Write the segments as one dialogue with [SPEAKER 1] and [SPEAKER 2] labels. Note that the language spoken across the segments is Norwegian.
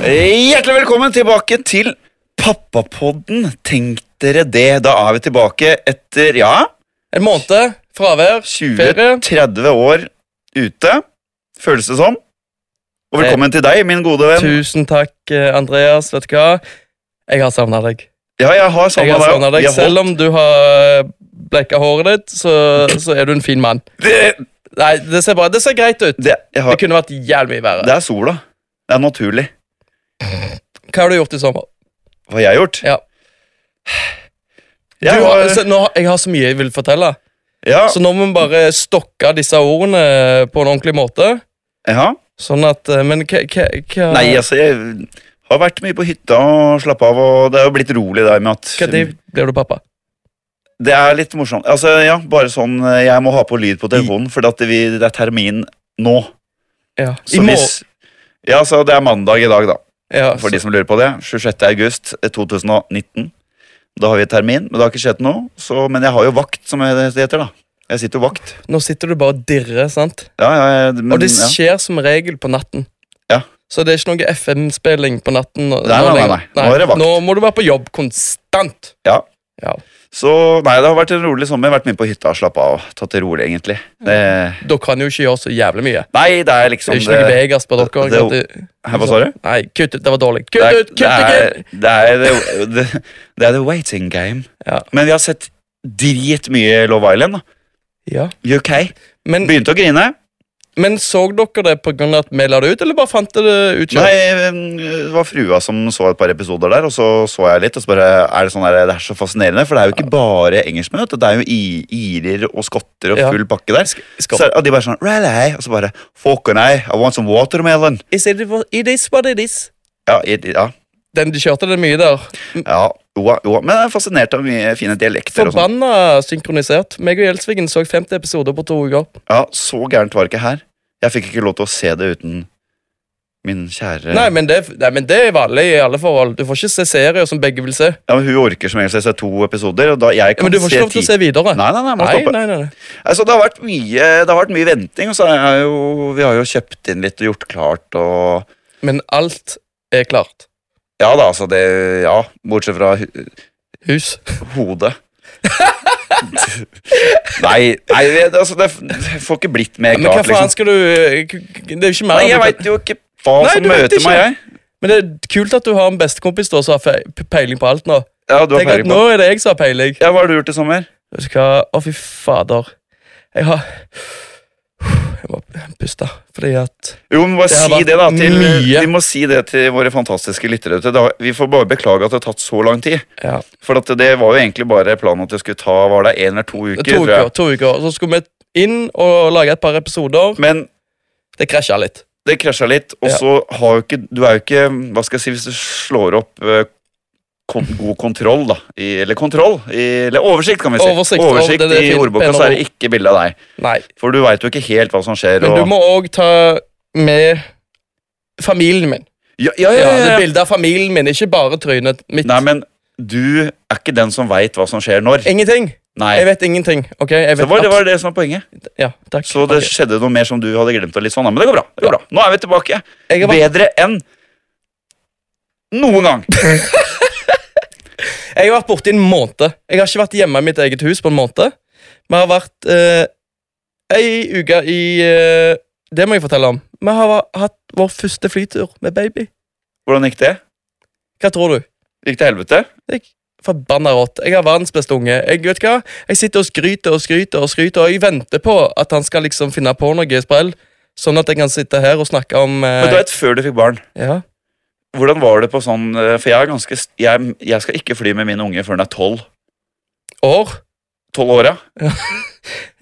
[SPEAKER 1] Hjertelig velkommen tilbake til Pappapodden. Tenk dere det. Da er vi tilbake etter ja,
[SPEAKER 2] En måned, fravær, ferie.
[SPEAKER 1] 20-30 år ute. Føles det sånn? Og velkommen til deg, min gode venn.
[SPEAKER 2] Tusen takk, eh, Andreas. Vet du hva? Jeg har savna deg.
[SPEAKER 1] Ja, jeg har
[SPEAKER 2] Jeg har
[SPEAKER 1] savna
[SPEAKER 2] savnet
[SPEAKER 1] deg.
[SPEAKER 2] deg.
[SPEAKER 1] Vi har
[SPEAKER 2] Selv om du har bleika håret ditt, så, så er du en fin mann.
[SPEAKER 1] holdt- Det,
[SPEAKER 2] Nei, det ser bra, det ser greit ut.
[SPEAKER 1] det, jeg
[SPEAKER 2] Det
[SPEAKER 1] har,
[SPEAKER 2] kunne vært jævlig mye verre.
[SPEAKER 1] det er sola. Det er naturlig.
[SPEAKER 2] Hva har du gjort i sommer?
[SPEAKER 1] Hva jeg har gjort?
[SPEAKER 2] Ja.
[SPEAKER 1] Jeg
[SPEAKER 2] du har,
[SPEAKER 1] har,
[SPEAKER 2] så nå, har- jeg har så mye jeg vil fortelle,
[SPEAKER 1] ja,
[SPEAKER 2] så nå må vi bare stokke disse ordene eh, på en ordentlig måte.
[SPEAKER 1] ja.
[SPEAKER 2] Sånn at eh, Men hva hva- hva-
[SPEAKER 1] Nei, altså, jeg har vært mye på hytta og slappa av, og det er jo blitt rolig der med at
[SPEAKER 2] hva tid blir du pappa?
[SPEAKER 1] Det er litt morsomt. Altså, ja, bare sånn eh, Jeg må ha på lyd på telefonen, for at vi, det er termin nå.
[SPEAKER 2] Ja.
[SPEAKER 1] Så
[SPEAKER 2] I morgen.
[SPEAKER 1] hvis- Ja, så det er mandag i dag, da.
[SPEAKER 2] Ja,
[SPEAKER 1] For
[SPEAKER 2] så-
[SPEAKER 1] de som lurer på det. 26. august 2019. Da har vi termin, men det har ikke skjedd noe. Så, men jeg har jo vakt, som det heter. da Jeg sitter jo vakt.
[SPEAKER 2] Nå sitter du bare og dirrer, sant?
[SPEAKER 1] Ja, ja, jeg- men,
[SPEAKER 2] og det
[SPEAKER 1] ja.
[SPEAKER 2] skjer som regel på natten.
[SPEAKER 1] Ja.
[SPEAKER 2] Så det er ikke noe FM-spilling på natten. nå-
[SPEAKER 1] Nei, nei,
[SPEAKER 2] nå
[SPEAKER 1] nei,
[SPEAKER 2] lenger.
[SPEAKER 1] nei. Nå er det vakt.
[SPEAKER 2] Nå må du være på jobb konstant.
[SPEAKER 1] Ja.
[SPEAKER 2] Ja.
[SPEAKER 1] Så nei, det har vært en rolig sommer. Vært mye på hytta og slappa av. Tatt det rolig, egentlig. Det,
[SPEAKER 2] Da kan jo ikke gjøre så jævlig mye.
[SPEAKER 1] nei, det er
[SPEAKER 2] Det
[SPEAKER 1] liksom
[SPEAKER 2] er ikke noe Vegas på dere.
[SPEAKER 1] det-
[SPEAKER 2] at det-
[SPEAKER 1] Hæ, Hva sa du?
[SPEAKER 2] Nei, kutt ut. Det var
[SPEAKER 1] Det
[SPEAKER 2] dårlig. Kutt
[SPEAKER 1] er-
[SPEAKER 2] ut! Kutt ut! kutt!
[SPEAKER 1] det er- det er the- det- det er the waiting game.
[SPEAKER 2] Ja.
[SPEAKER 1] Men vi har sett dritmye Love Island. da.
[SPEAKER 2] Ja.
[SPEAKER 1] UK.
[SPEAKER 2] Men,
[SPEAKER 1] Begynte å grine.
[SPEAKER 2] men så dere det pga. at vi la det ut, eller bare fant dere det ut? selv?
[SPEAKER 1] Nei, Det var frua som så et par episoder der, og så så jeg litt. Og så bare, er Det sånn der, det er så fascinerende, for det er jo ikke bare engelskmenn. vet du. Det er jo i- irer og skotter
[SPEAKER 2] Ja.
[SPEAKER 1] og full pakke der.
[SPEAKER 2] Skott.
[SPEAKER 1] Så, er- og de bare sånn Rally! Og så bare Fuck and I, I want some watermelon.
[SPEAKER 2] Is it, it is what it is.
[SPEAKER 1] Ja, i, i- ja,
[SPEAKER 2] Den, de kjørte det mye der.
[SPEAKER 1] ja jo, da, jo. da. Men jeg er fascinert av mye fine dialekter. og sånn.
[SPEAKER 2] Forbanna synkronisert. Meg og Gjelsvigen så 50 episoder på to uker.
[SPEAKER 1] Ja, så gærent var det ikke her. Jeg fikk ikke lov til å se det uten min kjære
[SPEAKER 2] Nei men, det, nei, men det er vanlig i alle forhold. Du får ikke se serier som begge vil se.
[SPEAKER 1] Ja, men Hun orker som regel å se to episoder, og da jeg
[SPEAKER 2] Ja,
[SPEAKER 1] kan
[SPEAKER 2] men du får ikke lov til å
[SPEAKER 1] ti.
[SPEAKER 2] se videre.
[SPEAKER 1] Nei, nei, nei, må
[SPEAKER 2] nei,
[SPEAKER 1] stoppe.
[SPEAKER 2] nei, nei.
[SPEAKER 1] Altså, det, har vært mye, det har vært mye venting, og så er jeg jo, vi har jo kjøpt inn litt og gjort klart og
[SPEAKER 2] Men alt er klart.
[SPEAKER 1] Ja da, altså det Ja, bortsett fra hu-
[SPEAKER 2] Hus.
[SPEAKER 1] hodet. nei, nei det, altså, det, det får ikke blitt mer
[SPEAKER 2] Men hva
[SPEAKER 1] klart,
[SPEAKER 2] faen
[SPEAKER 1] liksom.
[SPEAKER 2] skal du eh, Det er jo ikke mer.
[SPEAKER 1] Nei, jeg
[SPEAKER 2] du kan-
[SPEAKER 1] veit jo ikke hva
[SPEAKER 2] Nei,
[SPEAKER 1] som
[SPEAKER 2] du vet
[SPEAKER 1] møter
[SPEAKER 2] ikke.
[SPEAKER 1] meg, jeg.
[SPEAKER 2] Men det er kult at du har en bestekompis da som har fe- peiling på alt nå.
[SPEAKER 1] Ja, du har
[SPEAKER 2] Tenk at
[SPEAKER 1] peiling på det.
[SPEAKER 2] Nå er det jeg som har peiling.
[SPEAKER 1] Ja, Hva har du gjort i sommer?
[SPEAKER 2] Vet du hva? Å, fy fader. Jeg har Jeg må puste fordi at
[SPEAKER 1] Jo, vi må
[SPEAKER 2] Det har
[SPEAKER 1] si
[SPEAKER 2] vært
[SPEAKER 1] det da til, eh,
[SPEAKER 2] mye.
[SPEAKER 1] Vi må si det til våre fantastiske lyttere. ute. Da- Vi får bare beklage at det har tatt så lang tid.
[SPEAKER 2] Ja.
[SPEAKER 1] For at det var jo egentlig bare planen at det skulle ta var det en eller to uker.
[SPEAKER 2] To
[SPEAKER 1] tror jeg.
[SPEAKER 2] uker, to uker. Så skulle vi inn og lage et par episoder.
[SPEAKER 1] Men
[SPEAKER 2] Det krasja litt.
[SPEAKER 1] det krasja litt, og
[SPEAKER 2] Ja.
[SPEAKER 1] så har jo ikke Du er jo ikke Hva skal jeg si hvis du slår opp eh, kon god kontroll, da. I, eller kontroll. I, eller oversikt, kan vi si.
[SPEAKER 2] Oversikt, og det er det
[SPEAKER 1] i
[SPEAKER 2] fint,
[SPEAKER 1] ordboka,
[SPEAKER 2] penere
[SPEAKER 1] så er det
[SPEAKER 2] ord.
[SPEAKER 1] ikke bilde av deg.
[SPEAKER 2] Nei.
[SPEAKER 1] For du veit jo ikke helt hva som skjer.
[SPEAKER 2] Men du
[SPEAKER 1] og,
[SPEAKER 2] må òg ta med familien min.
[SPEAKER 1] ja, ja,
[SPEAKER 2] Ja,
[SPEAKER 1] ja,
[SPEAKER 2] det
[SPEAKER 1] ja, ja.
[SPEAKER 2] er Bilde av familien min, ikke bare trynet mitt.
[SPEAKER 1] Nei, men du er ikke den som veit hva som skjer når.
[SPEAKER 2] Ingenting.
[SPEAKER 1] Nei.
[SPEAKER 2] Jeg vet ingenting. ok? Jeg
[SPEAKER 1] Det
[SPEAKER 2] vet
[SPEAKER 1] var, det var det som var poenget.
[SPEAKER 2] absolutt- Ja, takk.
[SPEAKER 1] Så det
[SPEAKER 2] Ok.
[SPEAKER 1] skjedde noe mer som du hadde glemt. Og litt sånn, da. Men det går bra. det går bra Nå er vi tilbake.
[SPEAKER 2] Jeg har vært-
[SPEAKER 1] Bedre enn noen gang.
[SPEAKER 2] Jeg har vært borte i en måned. Jeg har ikke vært hjemme i mitt eget hus på en måned. Vi har vært eh, ei uke i eh, Det må jeg fortelle om. Vi har va- hatt vår første flytur med baby.
[SPEAKER 1] Hvordan gikk det?
[SPEAKER 2] Hva tror du?
[SPEAKER 1] Gikk til helvete?
[SPEAKER 2] Forbanna rått. Jeg har verdens beste unge. Jeg vet hva? Jeg sitter og skryter og skryter og skryter, og jeg venter på at han skal liksom finne på noe sprell, sånn at jeg kan sitte her og snakke om eh,
[SPEAKER 1] Men du vet, Før du fikk barn,
[SPEAKER 2] ja.
[SPEAKER 1] hvordan var det på sånn eh, For jeg er ganske st- Jeg, jeg skal ikke fly med min unge før den er tolv.
[SPEAKER 2] år.
[SPEAKER 1] Tolv år, ja.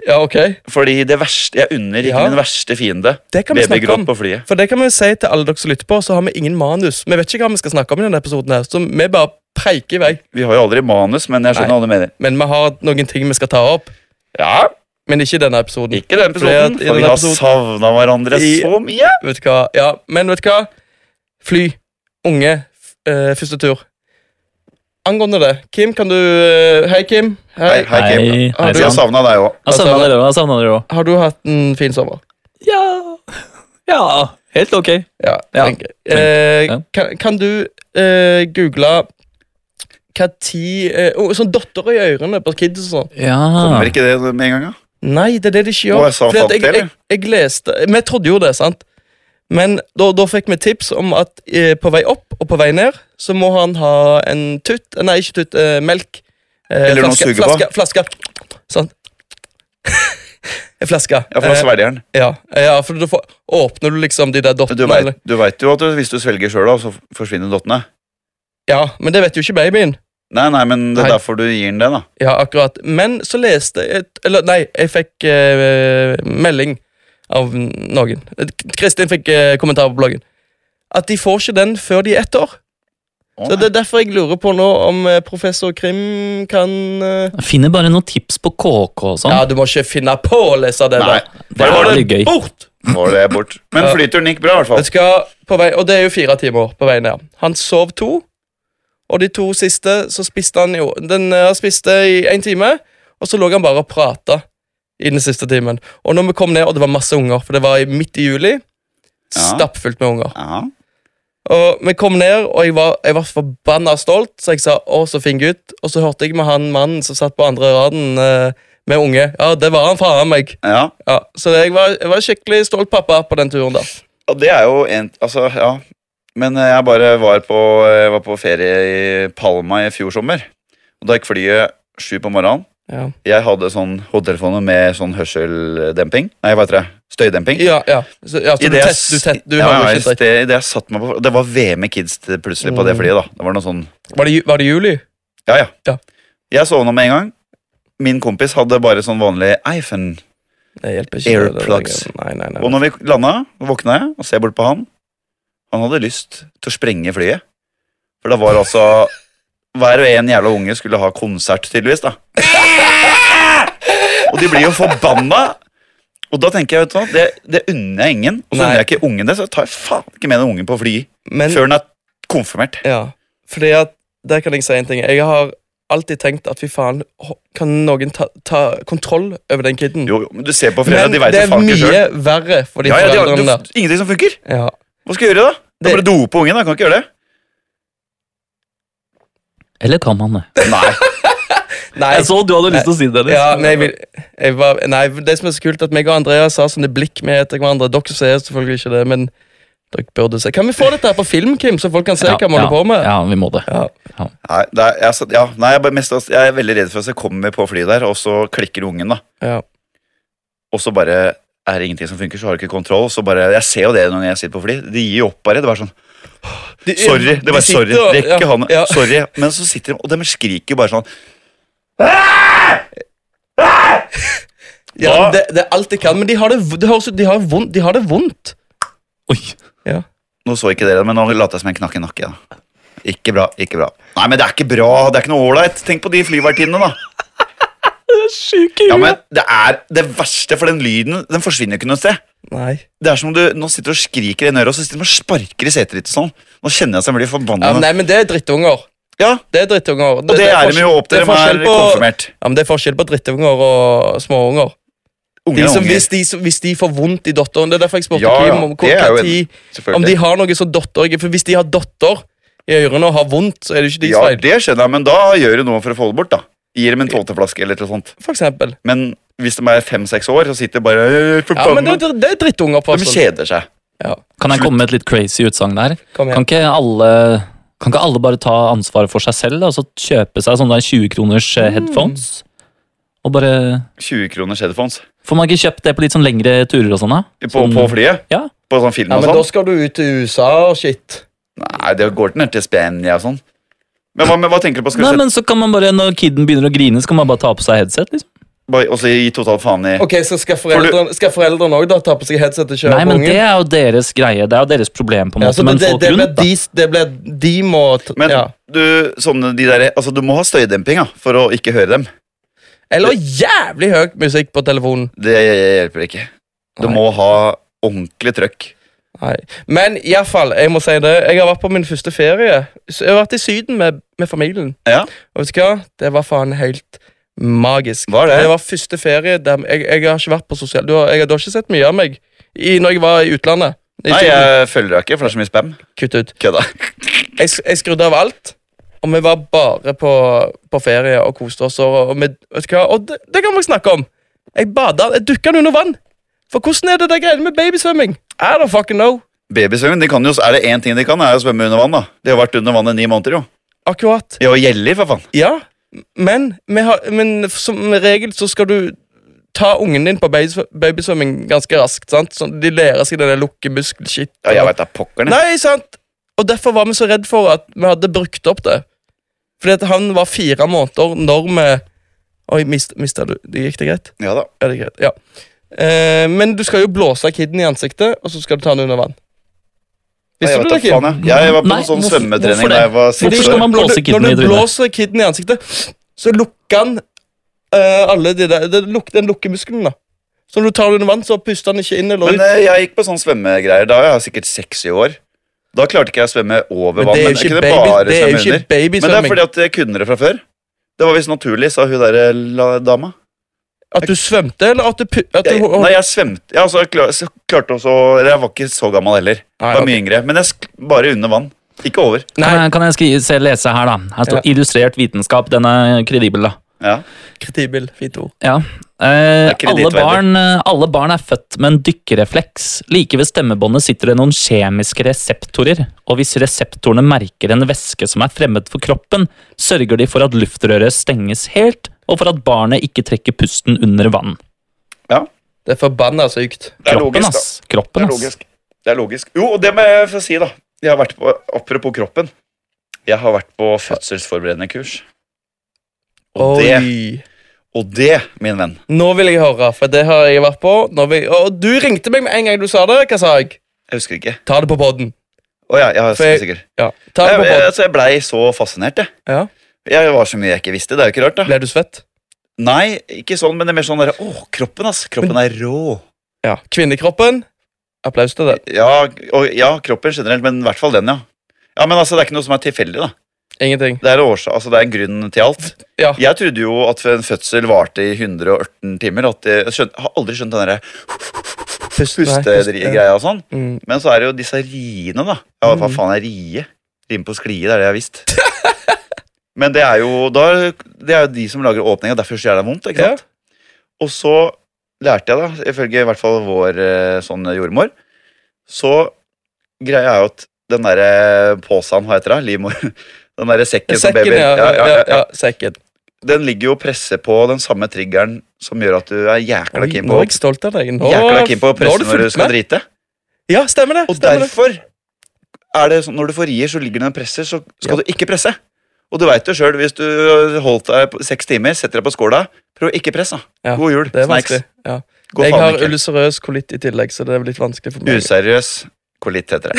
[SPEAKER 2] Ja, ok.
[SPEAKER 1] Fordi det verste Jeg unner ikke
[SPEAKER 2] Ja.
[SPEAKER 1] min verste fiende
[SPEAKER 2] Det kan vi snakke
[SPEAKER 1] babygråt
[SPEAKER 2] om.
[SPEAKER 1] på flyet.
[SPEAKER 2] For det kan vi si til alle dere som lytter på, så har vi ingen manus. Vi vet ikke hva vi skal snakke om i denne episoden, her, så vi bare preiker i vei.
[SPEAKER 1] Vi har jo aldri manus, men jeg skjønner
[SPEAKER 2] Nei.
[SPEAKER 1] hva du mener.
[SPEAKER 2] Men vi har noen ting vi skal ta opp,
[SPEAKER 1] Ja,
[SPEAKER 2] men ikke i denne episoden.
[SPEAKER 1] Ikke den episoden,
[SPEAKER 2] Fordi at i
[SPEAKER 1] for vi
[SPEAKER 2] den
[SPEAKER 1] har
[SPEAKER 2] episoden-
[SPEAKER 1] savna hverandre
[SPEAKER 2] I-
[SPEAKER 1] så mye.
[SPEAKER 2] Vet du hva? Ja, men vet du hva? Fly. Unge. F eh, første tur. Angående det, Kim, kan du eh, Hei, Kim. Hei.
[SPEAKER 1] Hei, Kim.
[SPEAKER 3] Hei,
[SPEAKER 2] Ah,
[SPEAKER 3] hei
[SPEAKER 1] Vi har
[SPEAKER 3] sann.
[SPEAKER 1] savna deg òg.
[SPEAKER 3] Jeg savna dere òg.
[SPEAKER 2] Har du hatt en fin sommer?
[SPEAKER 3] Ja. ja. Helt ok.
[SPEAKER 2] Ja,
[SPEAKER 3] Ja.
[SPEAKER 2] tenker jeg. Eh,
[SPEAKER 3] Ja.
[SPEAKER 2] Kan, kan du eh, google hva tid eh, oh, Sånn dotter i ørene på kids og sånn.
[SPEAKER 3] Ja.
[SPEAKER 1] Kommer ikke det med en gang, da?
[SPEAKER 2] Nei, det er det de
[SPEAKER 1] Å,
[SPEAKER 2] ikke gjør.
[SPEAKER 1] jeg sa
[SPEAKER 2] Fordi at
[SPEAKER 1] fattig,
[SPEAKER 2] jeg, jeg,
[SPEAKER 1] eller?
[SPEAKER 2] jeg leste Vi trodde jo det, sant? Men da, da fikk vi tips om at eh, på vei opp og på vei ned så må han ha en tutt eh, Nei, ikke tutt. Eh, melk. Eh,
[SPEAKER 1] Eller noe å
[SPEAKER 2] flaske,
[SPEAKER 1] suge på.
[SPEAKER 2] flaske, flaske. Sånn. En flaske.
[SPEAKER 1] Ja, for da
[SPEAKER 2] eh,
[SPEAKER 1] svelger den.
[SPEAKER 2] ja, ja, for da får, åpner du liksom de
[SPEAKER 1] Men
[SPEAKER 2] der
[SPEAKER 1] du
[SPEAKER 2] dottene.
[SPEAKER 1] vet-
[SPEAKER 2] eller-
[SPEAKER 1] Du veit jo at du- hvis du svelger sjøl, så forsvinner dottene.
[SPEAKER 2] Ja, men det vet jo ikke babyen.
[SPEAKER 1] Nei, nei, men det er
[SPEAKER 2] Nei.
[SPEAKER 1] derfor du gir den det, da.
[SPEAKER 2] Ja, akkurat. Men så leste jeg et, Eller nei, jeg fikk eh, melding av noen. Kristin fikk eh, kommentar på bloggen. At de får ikke den før de er ett år.
[SPEAKER 1] Å,
[SPEAKER 2] Så
[SPEAKER 1] nei.
[SPEAKER 2] Det er derfor jeg lurer på nå om eh, professor Krim kan eh,
[SPEAKER 3] Jeg finner bare noen tips på KK og sånn.
[SPEAKER 2] Ja, du må ikke finne på å lese det.
[SPEAKER 1] Nei,
[SPEAKER 2] der.
[SPEAKER 3] det
[SPEAKER 2] Få
[SPEAKER 3] er
[SPEAKER 2] det
[SPEAKER 3] litt gøy.
[SPEAKER 2] Bort!
[SPEAKER 1] var det bort. Men
[SPEAKER 2] Ja.
[SPEAKER 1] flyturen gikk bra, i hvert fall.
[SPEAKER 2] Jeg skal på vei, og det er jo fire timer på vei ned. Han sov to, og de to siste så spiste han jo Den eh, spiste i én time, og så lå han bare og prata i den siste timen. Og når vi kom ned, og det var masse unger, for det var i- midt i juli, stappfullt med unger.
[SPEAKER 1] Ja.
[SPEAKER 2] Og vi kom ned, og jeg var, jeg var forbanna stolt, så jeg sa 'Å, så fin gutt'. Og så hørte jeg med han mannen som satt på andre raden eh, med unge. Ja, det var han faen meg.
[SPEAKER 1] ja.
[SPEAKER 2] Ja, så jeg var, jeg var skikkelig stolt pappa på den turen der.
[SPEAKER 1] Ja, det er jo en Altså, ja. Men eh, jeg bare var på, jeg var på ferie i Palma i fjor sommer. Og da gikk flyet sju på morgenen.
[SPEAKER 2] Ja,
[SPEAKER 1] Jeg hadde sånn hodetelefoner med sånn hørseldemping. Nei, hva heter det? Støydemping.
[SPEAKER 2] ja. ja. Så, ja så du,
[SPEAKER 1] I det jeg
[SPEAKER 2] tett,
[SPEAKER 1] s-
[SPEAKER 2] du, tett, du
[SPEAKER 1] ja,
[SPEAKER 2] har jo
[SPEAKER 1] ja,
[SPEAKER 2] ikke
[SPEAKER 1] i sted- i det jeg satt meg på Det var VM med kids til- plutselig på det
[SPEAKER 2] Mm.
[SPEAKER 1] flyet, da. Det var noe sånn
[SPEAKER 2] Var det, ju- var det juli?
[SPEAKER 1] Ja, ja.
[SPEAKER 2] Ja.
[SPEAKER 1] Jeg sovna med en gang. Min kompis hadde bare sånn vanlig iPhone.
[SPEAKER 2] Det hjelper ikke.
[SPEAKER 1] Airplugs.
[SPEAKER 2] Det- det- Nei, nei, nei.
[SPEAKER 1] Og
[SPEAKER 2] nei.
[SPEAKER 1] når vi landa, våkna jeg og ser bort på han. Han hadde lyst til å sprenge flyet. For det var altså Hver og en jævla unge skulle ha konsert, tydeligvis. da Og de blir jo forbanna! Og da tenker jeg, vet du hva, det, det unner jeg ingen. Og så
[SPEAKER 2] Nei.
[SPEAKER 1] unner jeg ikke ungen det, så tar jeg faen ikke med den ungen på fly
[SPEAKER 2] Men,
[SPEAKER 1] før den er konfirmert.
[SPEAKER 2] ja. Fordi at, der kan jeg si en ting. Jeg har alltid tenkt at fy faen, hå- kan noen ta, ta kontroll over den kiden?
[SPEAKER 1] Jo, jo, men du ser på
[SPEAKER 2] Men
[SPEAKER 1] foreldrene, de veit
[SPEAKER 2] det
[SPEAKER 1] jo
[SPEAKER 2] er
[SPEAKER 1] faen ikke sjøl.
[SPEAKER 2] mye verre for de
[SPEAKER 1] Ja, ja, de har-
[SPEAKER 2] foreldrene der.
[SPEAKER 1] du- ingenting som funker.
[SPEAKER 2] Ja.
[SPEAKER 1] Hva skal jeg gjøre, da? Da
[SPEAKER 2] Det-
[SPEAKER 1] bare dope ungen, da. Kan ikke gjøre det.
[SPEAKER 3] Eller kan man det?
[SPEAKER 1] Nei.
[SPEAKER 2] Nei,
[SPEAKER 3] så du hadde
[SPEAKER 2] lyst
[SPEAKER 3] til å si det.
[SPEAKER 2] ja, men jeg vil, jeg var, nei, det som er så kult, at meg og Andrea sa sånne blikk med etter hverandre. Dere ser selvfølgelig ikke det, men dere burde se. Kan vi få dette her på film, Kim, så folk kan se hva vi holder på med?
[SPEAKER 3] Ja, vi må det.
[SPEAKER 2] Ja.
[SPEAKER 1] Nei, det er, jeg, satt- ja, nei jeg, bare mest, av- jeg er veldig redd for at jeg kommer på flyet der, og så klikker ungen, da.
[SPEAKER 2] Ja.
[SPEAKER 1] Og så bare er det ingenting som funker, så har du ikke kontroll. og Så bare, jeg ser jo det når jeg sitter på fly. De gir jo opp bare. Det var sånn
[SPEAKER 2] De-
[SPEAKER 1] Sorry. det
[SPEAKER 2] de
[SPEAKER 1] var sorry,
[SPEAKER 2] sitter og-
[SPEAKER 1] det er ikke
[SPEAKER 2] ja,
[SPEAKER 1] han,
[SPEAKER 2] ja.
[SPEAKER 1] sorry. Men så sitter de, og de skriker jo bare sånn. Da-
[SPEAKER 2] Ja, men det, det er alt de kan, men de har det, v- det, høres ut- de har vondt, de har det vondt.
[SPEAKER 3] Oi.
[SPEAKER 1] Nå så ikke dere det, men nå later jeg som jeg knakk en nakke. Da. Ikke bra, ikke bra. Nei, men det er ikke bra. Det er ikke noe ålreit. Tenk på de flyvertinnene, da.
[SPEAKER 3] Syke
[SPEAKER 1] Ja, men Det er det verste, for den lyden den forsvinner jo ikke noe sted.
[SPEAKER 2] Nei.
[SPEAKER 1] Det er som om du nå sitter og skriker i en øre, og så sitter du og sparker i setet ditt og sånn. Nå kjenner jeg at jeg blir
[SPEAKER 2] Ja,
[SPEAKER 1] forbanna.
[SPEAKER 2] men, nei, men det er drittunger.
[SPEAKER 1] Ja,
[SPEAKER 2] Det er drittunger.
[SPEAKER 1] og det, er de
[SPEAKER 2] forskjell-
[SPEAKER 1] jo opp til
[SPEAKER 2] det
[SPEAKER 1] de er
[SPEAKER 2] forskjell på,
[SPEAKER 1] konfirmert.
[SPEAKER 2] ja, men det er forskjell på drittunger og småunger.
[SPEAKER 1] Unge
[SPEAKER 2] De
[SPEAKER 1] er
[SPEAKER 2] som,
[SPEAKER 1] unger.
[SPEAKER 2] hvis, de, som- hvis de får vondt i dotteren Det er derfor jeg spurte
[SPEAKER 1] Ja, ja,
[SPEAKER 2] Kim om, hvor,
[SPEAKER 1] det er jo
[SPEAKER 2] hva
[SPEAKER 1] en-
[SPEAKER 2] tid, om de
[SPEAKER 1] Selvfølgelig.
[SPEAKER 2] har noe som dotter For hvis de har dotter i ørene og har vondt, så er det ikke de
[SPEAKER 1] ja,
[SPEAKER 2] som feil.
[SPEAKER 1] det skjønner jeg, men da gjør du noe for å få det bort, da. Gir dem en tolvteflaske eller noe sånt.
[SPEAKER 2] For eksempel.
[SPEAKER 1] Men hvis de er fem-seks år, så sitter de bare «Øh,
[SPEAKER 2] Ja, men
[SPEAKER 1] forbanna.
[SPEAKER 2] det, er- det er drittunger. på
[SPEAKER 1] De
[SPEAKER 2] oss.
[SPEAKER 1] kjeder seg.
[SPEAKER 2] Ja,
[SPEAKER 3] Kan jeg komme med et litt crazy utsagn der?
[SPEAKER 2] kom
[SPEAKER 3] Kan
[SPEAKER 2] igjen.
[SPEAKER 3] ikke alle kan ikke alle bare ta ansvaret for seg selv da, og så kjøpe seg sånne der 20 kroners eh, headphones? Og bare
[SPEAKER 1] 20 kroners headphones
[SPEAKER 3] Får man ikke kjøpt det på litt sånn lengre turer og sånn? da?
[SPEAKER 1] på,
[SPEAKER 3] Sånn-
[SPEAKER 1] på flyet.
[SPEAKER 3] Ja.
[SPEAKER 1] På sånn film
[SPEAKER 2] Ja,
[SPEAKER 1] og
[SPEAKER 2] men da
[SPEAKER 1] sånn.
[SPEAKER 2] skal du ut til USA og shit.
[SPEAKER 1] Nei, det går ikke ned til Spania og sånn. Men hva, men hva tenker du på? Skal du
[SPEAKER 3] Nei,
[SPEAKER 1] sette
[SPEAKER 3] men så kan man bare, Når kiden begynner å grine, så kan man bare ta på seg headset. liksom.
[SPEAKER 1] bare- også gi totalt faen i
[SPEAKER 2] Ok, så Skal foreldrene skal foreldrene også da ta på seg headset og kjøre
[SPEAKER 3] Nei,
[SPEAKER 2] på
[SPEAKER 3] men
[SPEAKER 2] ungen?
[SPEAKER 3] Det er jo deres greie, det er jo deres problem. på en
[SPEAKER 2] ja,
[SPEAKER 3] måte,
[SPEAKER 2] så det,
[SPEAKER 3] Men
[SPEAKER 2] det,
[SPEAKER 3] folk
[SPEAKER 2] det, blir
[SPEAKER 3] rundt da.
[SPEAKER 2] de, det blir de må t-
[SPEAKER 1] Men
[SPEAKER 2] ja.
[SPEAKER 1] du, sånne, de der, altså, du må ha støydemping ja, for å ikke høre dem.
[SPEAKER 2] Eller jævlig høy musikk på telefonen.
[SPEAKER 1] Det hjelper ikke. Du
[SPEAKER 2] Nei.
[SPEAKER 1] må ha ordentlig trøkk.
[SPEAKER 2] Nei. Men iallfall, jeg må si det. Jeg har vært på min første ferie. Så Jeg har vært i Syden med, med familien.
[SPEAKER 1] Ja.
[SPEAKER 2] Og vet du hva? Det var faen helt magisk.
[SPEAKER 1] Var det?
[SPEAKER 2] Det var første ferie der jeg, jeg har ikke vært på sosial... Du har, jeg, du har ikke sett mye av meg i, når jeg var i utlandet.
[SPEAKER 1] Nei, jeg følger deg ikke, for det er så mye spam.
[SPEAKER 2] Kutt ut.
[SPEAKER 1] Kødda.
[SPEAKER 2] Jeg, s- jeg skrudde av alt, og vi var bare på, på ferie og koste oss. Og, og, vi- vet du hva? og det, det kan vi snakke om. Jeg bada, jeg dukka under vann. For hvordan er det de greiene med babysvømming? I don't fucking know.
[SPEAKER 1] Babysvømming, de kan jo, er det én ting de kan, er jo å svømme under vann. da. De har vært under vann i ni måneder, jo.
[SPEAKER 2] Akkurat.
[SPEAKER 1] De har gjeller, for faen.
[SPEAKER 2] Ja, men, vi har, men som regel så skal du ta ungen din på babysvø- babysvømming ganske raskt. sant? Sånn, de lærer seg denne lukkemuskelshit.
[SPEAKER 1] Ja, jeg veit da pokker. det.
[SPEAKER 2] Nei, sant? Og derfor var vi så redd for at vi hadde brukt opp det. Fordi at han var fire måneder når vi Oi, mist, mista du det Gikk det greit?
[SPEAKER 1] Ja da.
[SPEAKER 2] Ja, det gikk greit. ja. Eh, men du skal jo blåse kiden i ansiktet, og så skal du ta den under vann.
[SPEAKER 1] Nei,
[SPEAKER 2] Visste
[SPEAKER 1] jeg,
[SPEAKER 2] du
[SPEAKER 1] vet
[SPEAKER 2] det,
[SPEAKER 1] da
[SPEAKER 2] Kim?
[SPEAKER 1] faen, jeg. jeg var på
[SPEAKER 3] Nei,
[SPEAKER 1] en sånn
[SPEAKER 3] hvorfor- hvorfor
[SPEAKER 1] svømmetrening da
[SPEAKER 3] det?
[SPEAKER 1] jeg var
[SPEAKER 3] Hvorfor
[SPEAKER 1] seks
[SPEAKER 3] skal
[SPEAKER 1] år.
[SPEAKER 3] man blåse
[SPEAKER 2] Når du-
[SPEAKER 3] kiden i
[SPEAKER 2] Når du
[SPEAKER 3] trynet?
[SPEAKER 2] blåser kiden i ansiktet, så lukker han eh, alle de der det luk, Den lukker muskelen, da. Så når du tar den under vann, så puster han ikke inn eller
[SPEAKER 1] Men
[SPEAKER 2] ut.
[SPEAKER 1] eh, jeg gikk på sånn svømmegreier. Da var jeg sikkert seks i år. Da klarte ikke jeg å svømme over
[SPEAKER 2] Men
[SPEAKER 1] vann. Men
[SPEAKER 2] det er jo
[SPEAKER 1] jeg
[SPEAKER 2] ikke,
[SPEAKER 1] kunne
[SPEAKER 2] baby,
[SPEAKER 1] bare
[SPEAKER 2] det
[SPEAKER 1] svømme
[SPEAKER 2] er jo ikke
[SPEAKER 1] under. Men det er
[SPEAKER 2] babysvømming.
[SPEAKER 1] fordi at jeg kunne det fra før. Det var visst naturlig, sa hun der eh, la- dama.
[SPEAKER 2] At du svømte, eller at du, pu- at du
[SPEAKER 1] Jeg, nei, jeg svømte ja, altså, jeg klar, så klarte også Eller jeg var ikke så gammel heller.
[SPEAKER 2] Nei,
[SPEAKER 1] Jeg var
[SPEAKER 2] Ah, ok.
[SPEAKER 1] mye yngre. Men jeg sk bare under vann. Ikke over.
[SPEAKER 2] Nei.
[SPEAKER 3] Kan jeg, kan jeg skrive, se, lese her, da? Her
[SPEAKER 2] Ja.
[SPEAKER 3] står 'illustrert vitenskap'. Den er kredibel, da.
[SPEAKER 1] Ja.
[SPEAKER 2] Kredibil. Fint ord.
[SPEAKER 3] Ja.
[SPEAKER 1] Det
[SPEAKER 3] Eh,
[SPEAKER 1] er
[SPEAKER 3] alle,
[SPEAKER 1] kredittverdig.
[SPEAKER 3] barn, eh, alle barn er født med en dykkerefleks. Like ved stemmebåndet sitter det noen kjemiske reseptorer, og hvis reseptorene merker en væske som er fremmed for kroppen, sørger de for at luftrøret stenges helt, og for at barnet ikke trekker pusten under vann.
[SPEAKER 2] Det er forbanna sykt.
[SPEAKER 1] Det er
[SPEAKER 3] Kroppen,
[SPEAKER 1] logisk, da.
[SPEAKER 3] ass. Kroppen,
[SPEAKER 1] Det er
[SPEAKER 3] ass.
[SPEAKER 1] logisk. Det er logisk. Jo, og det må jeg få si, da. Jeg har vært på, Apropos kroppen. Jeg har vært på fødselsforberedende kurs. Og det,
[SPEAKER 2] Oi.
[SPEAKER 1] og det, min venn
[SPEAKER 2] Nå vil jeg høre, for det har jeg vært på. Nå vil, og du ringte meg med en gang du sa det. Hva sa jeg?
[SPEAKER 1] Jeg husker ikke.
[SPEAKER 2] Ta det på podden.
[SPEAKER 1] Å ja, jeg er
[SPEAKER 2] For jeg-
[SPEAKER 1] sikker.
[SPEAKER 2] Ja, ta det
[SPEAKER 1] Jeg,
[SPEAKER 2] på
[SPEAKER 1] jeg,
[SPEAKER 2] podden.
[SPEAKER 1] altså, jeg blei så fascinert, jeg.
[SPEAKER 2] Ja.
[SPEAKER 1] Jeg var så mye jeg ikke visste. Det er jo ikke rart, da.
[SPEAKER 2] Ble du svett?
[SPEAKER 1] Nei, ikke sånn, men det er mer sånn derre Å, kroppen, ass. Kroppen er rå.
[SPEAKER 2] Ja. Kvinnekroppen. Applaus til den.
[SPEAKER 1] Ja, og, ja, kroppen generelt, men i hvert fall den, ja. Ja, men altså, Det er ikke noe som er tilfeldig. da.
[SPEAKER 2] Ingenting.
[SPEAKER 1] Det er, årsa, altså, det er en grunn til alt.
[SPEAKER 2] Ja.
[SPEAKER 1] Jeg trodde jo at en fødsel varte i 118 timer. at Jeg, jeg skjøn, har aldri skjønt den derre
[SPEAKER 2] Pust,
[SPEAKER 1] pustegreia og sånn.
[SPEAKER 2] Mm.
[SPEAKER 1] Men så er det jo disse riene, da. Ja, hva faen er rie? Rime på sklie, det er det jeg har visst. Men det er, jo, da, det er jo de som lager åpninga, derfor gjør det vondt. ikke
[SPEAKER 2] Ja.
[SPEAKER 1] sant? Og så lærte jeg, da, ifølge i hvert fall vår eh, sånn jordmor, så greia er jo at den derre posen, hva heter det, livmor Den derre sekken som
[SPEAKER 2] Sekken,
[SPEAKER 1] baby
[SPEAKER 2] ja. ja, ja, ja. Sekken.
[SPEAKER 1] Den ligger jo og presser på den samme triggeren som gjør at du er jækla
[SPEAKER 2] Oi,
[SPEAKER 1] keen
[SPEAKER 2] nå
[SPEAKER 1] på
[SPEAKER 2] er jeg stolt av deg. Nå,
[SPEAKER 1] Jækla keen på å
[SPEAKER 2] nå har
[SPEAKER 1] presse når du
[SPEAKER 2] fulgt
[SPEAKER 1] skal
[SPEAKER 2] med.
[SPEAKER 1] drite.
[SPEAKER 2] Ja, stemmer det.
[SPEAKER 1] Og
[SPEAKER 2] stemmer det.
[SPEAKER 1] derfor er det sånn, når du får rier, så ligger det en presser, så skal du ikke presse. Og du veit jo sjøl, hvis du holdt deg på seks timer, setter deg på skåla, prøv å ikke presse. da.
[SPEAKER 2] Ja,
[SPEAKER 1] God jul.
[SPEAKER 2] Det er
[SPEAKER 1] Snacks.
[SPEAKER 2] vanskelig. Ja.
[SPEAKER 1] God
[SPEAKER 2] Jeg
[SPEAKER 1] faen
[SPEAKER 2] har
[SPEAKER 1] ikke.
[SPEAKER 2] ulcerøs kolitt i tillegg, så det er litt vanskelig for meg.
[SPEAKER 1] Useriøs kolitt, heter det.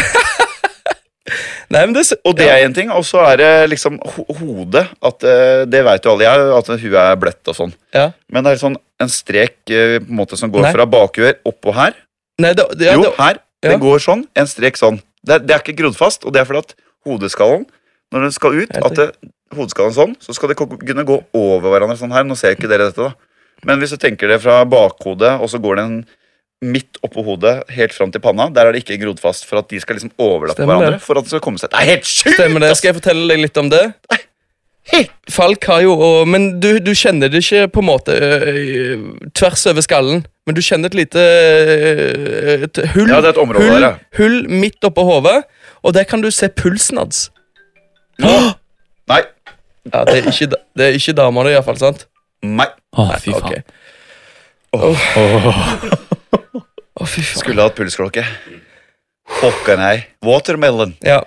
[SPEAKER 2] Nei, men det, s-
[SPEAKER 1] Og det er én ting. Og så er det liksom ho hodet. At, eh, det veit jo alle jeg, at huet er bløtt og sånn.
[SPEAKER 2] Ja.
[SPEAKER 1] Men det er sånn en strek eh, på en måte som går
[SPEAKER 2] Nei.
[SPEAKER 1] fra bakhuet oppå her.
[SPEAKER 2] Nei, det, det, ja,
[SPEAKER 1] jo,
[SPEAKER 2] det,
[SPEAKER 1] her.
[SPEAKER 2] ja.
[SPEAKER 1] Det går sånn. En strek sånn. Det, er- det er ikke grodd fast, og det er fordi at hodeskallen, når den skal ut,
[SPEAKER 2] Jeg
[SPEAKER 1] at det, hodeskallen sånn, så skal det ko- kunne gå over hverandre sånn her. Nå ser jo ikke dere dette, da. Men hvis du tenker det fra bakhodet, og så går den midt oppå hodet, helt fram til panna, der er det ikke grodd fast for at de skal liksom overlappe
[SPEAKER 2] Stemmer det.
[SPEAKER 1] hverandre. For at det skal komme seg Det er helt sjukt!
[SPEAKER 2] Stemmer det. Skal jeg fortelle deg litt om det?
[SPEAKER 1] helt-
[SPEAKER 2] Falk har jo og, Men du, du kjenner det ikke på en måte ø, ø, tvers over skallen, men du kjenner et lite ø, et hull,
[SPEAKER 1] Ja, det er et område
[SPEAKER 2] hull,
[SPEAKER 1] der, ja.
[SPEAKER 2] hull midt oppå hodet, og der kan du se pulsen hans.
[SPEAKER 1] Nå. Nei.
[SPEAKER 2] Ja, det er ikke, da- det er ikke damene, iallfall. Sant?
[SPEAKER 1] Nei.
[SPEAKER 3] Å, fy faen.
[SPEAKER 2] Ok. Å, fy faen.
[SPEAKER 1] Skulle hatt pulsklokke. Pokker nei. Watermelon.
[SPEAKER 2] Ja.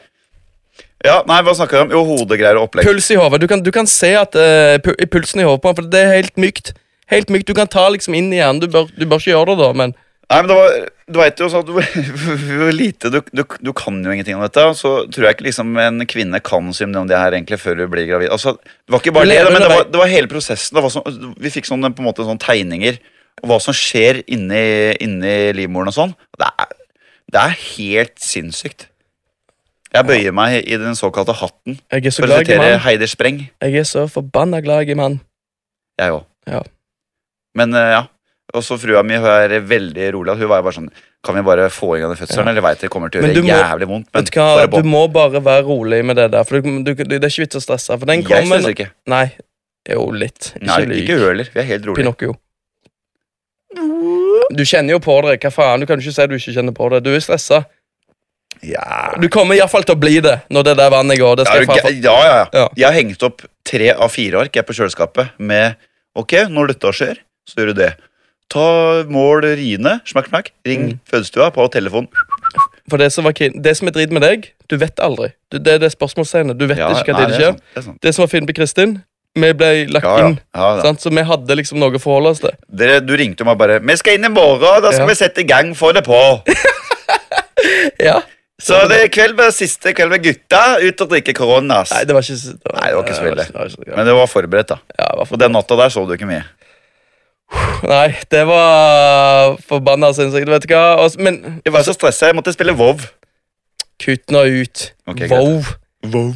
[SPEAKER 1] Ja, nei, hva snakker vi om? Jo, hodegreier og opplegg.
[SPEAKER 2] Puls i hodet. Du, kan- du kan se at ø, pu- pulsen i hodet på ham, for det er helt mykt. Helt mykt. Du kan ta liksom inn i hjernen. Du bør, du bør ikke gjøre det, da, men
[SPEAKER 1] Nei, men det var, Du veit jo sånn at du- hvor lite du, du, du kan jo ingenting om dette. og Så tror jeg ikke liksom en kvinne kan så mye om det her egentlig før hun blir gravid. Altså, Det var ikke bare
[SPEAKER 2] Du
[SPEAKER 1] det,
[SPEAKER 2] lever
[SPEAKER 1] men det var,
[SPEAKER 2] underveis.
[SPEAKER 1] det var hele prosessen. Det var sånn, vi fikk sånn, på en måte sånn tegninger og hva som skjer inni, inni livmoren og sånn. Det er, det er helt sinnssykt. Jeg bøyer meg i den såkalte hatten
[SPEAKER 2] jeg er så
[SPEAKER 1] for å
[SPEAKER 2] glad i
[SPEAKER 1] sitere
[SPEAKER 2] mann.
[SPEAKER 1] Heider Spreng.
[SPEAKER 2] Jeg er så forbanna glad i mann.
[SPEAKER 1] Jeg òg.
[SPEAKER 2] Ja.
[SPEAKER 1] Men eh, ja. Og så frua mi hun er veldig rolig. Hun var jo bare sånn Kan vi bare få i gang den fødselen, eller veit dere kommer til å
[SPEAKER 2] Men
[SPEAKER 1] gjøre
[SPEAKER 2] du må-
[SPEAKER 1] jævlig vondt? Men
[SPEAKER 2] Vet du hva,
[SPEAKER 1] bare på.
[SPEAKER 2] du må bare være rolig med det der, for du, du, det er ikke vits å stresse. For den
[SPEAKER 1] jeg
[SPEAKER 2] kommer
[SPEAKER 1] stresser ikke.
[SPEAKER 2] Nei. Jo, litt. Ikke
[SPEAKER 1] Nei,
[SPEAKER 2] lyv.
[SPEAKER 1] ikke hun heller. Vi er helt rolig.
[SPEAKER 2] Pinocchio. Du kjenner jo på det. Hva faen? Du kan jo ikke si du ikke kjenner på det. Du er stressa.
[SPEAKER 1] Ja.
[SPEAKER 2] Du kommer iallfall til å bli det når det der vannet går. Det
[SPEAKER 1] Ja,
[SPEAKER 2] skal
[SPEAKER 1] er
[SPEAKER 2] jeg
[SPEAKER 1] du
[SPEAKER 2] faen
[SPEAKER 1] gæ- ja, ja, ja.
[SPEAKER 2] Ja.
[SPEAKER 1] Jeg har hengt opp tre av fire ark jeg på kjøleskapet med Ok, når dette skjer, så gjør du det. Ta mål riene, smakk, smakk. Ring
[SPEAKER 2] Mm.
[SPEAKER 1] fødestua på telefon.
[SPEAKER 2] For det som, var, kin- det som er drit med deg, du vet aldri. Du, det er det spørsmålstegnet. Du vet
[SPEAKER 1] Ja, nei,
[SPEAKER 2] ikke hva tid
[SPEAKER 1] er
[SPEAKER 2] det skjer.
[SPEAKER 1] sant, det er sant.
[SPEAKER 2] Det som var fint med Kristin, vi ble lagt
[SPEAKER 1] Ja, ja.
[SPEAKER 2] inn.
[SPEAKER 1] ja, ja.
[SPEAKER 2] Sant? Så vi hadde liksom noe å forholde oss til.
[SPEAKER 1] Dere, du ringte meg bare 'Vi skal inn i morgen, da skal vi
[SPEAKER 2] Ja.
[SPEAKER 1] sette i gang, få det på'.
[SPEAKER 2] Ja.
[SPEAKER 1] Så det er kveld med siste kveld med gutta, ut og drikke korona. ass.
[SPEAKER 2] Nei, det var ikke s- det
[SPEAKER 1] Nei, det var ikke så ille.
[SPEAKER 2] det var ikke- det var ikke så
[SPEAKER 1] Men det var forberedt, da.
[SPEAKER 2] Ja, i hvert
[SPEAKER 1] For
[SPEAKER 2] fall.
[SPEAKER 1] den natta der så du ikke mye.
[SPEAKER 2] Nei, det var forbanna sinnssykt, vet du hva. Og s- Men
[SPEAKER 1] Jeg var så stressa, jeg måtte spille Vov.
[SPEAKER 2] kutt nå ut.
[SPEAKER 1] Ok, greit.
[SPEAKER 2] wow.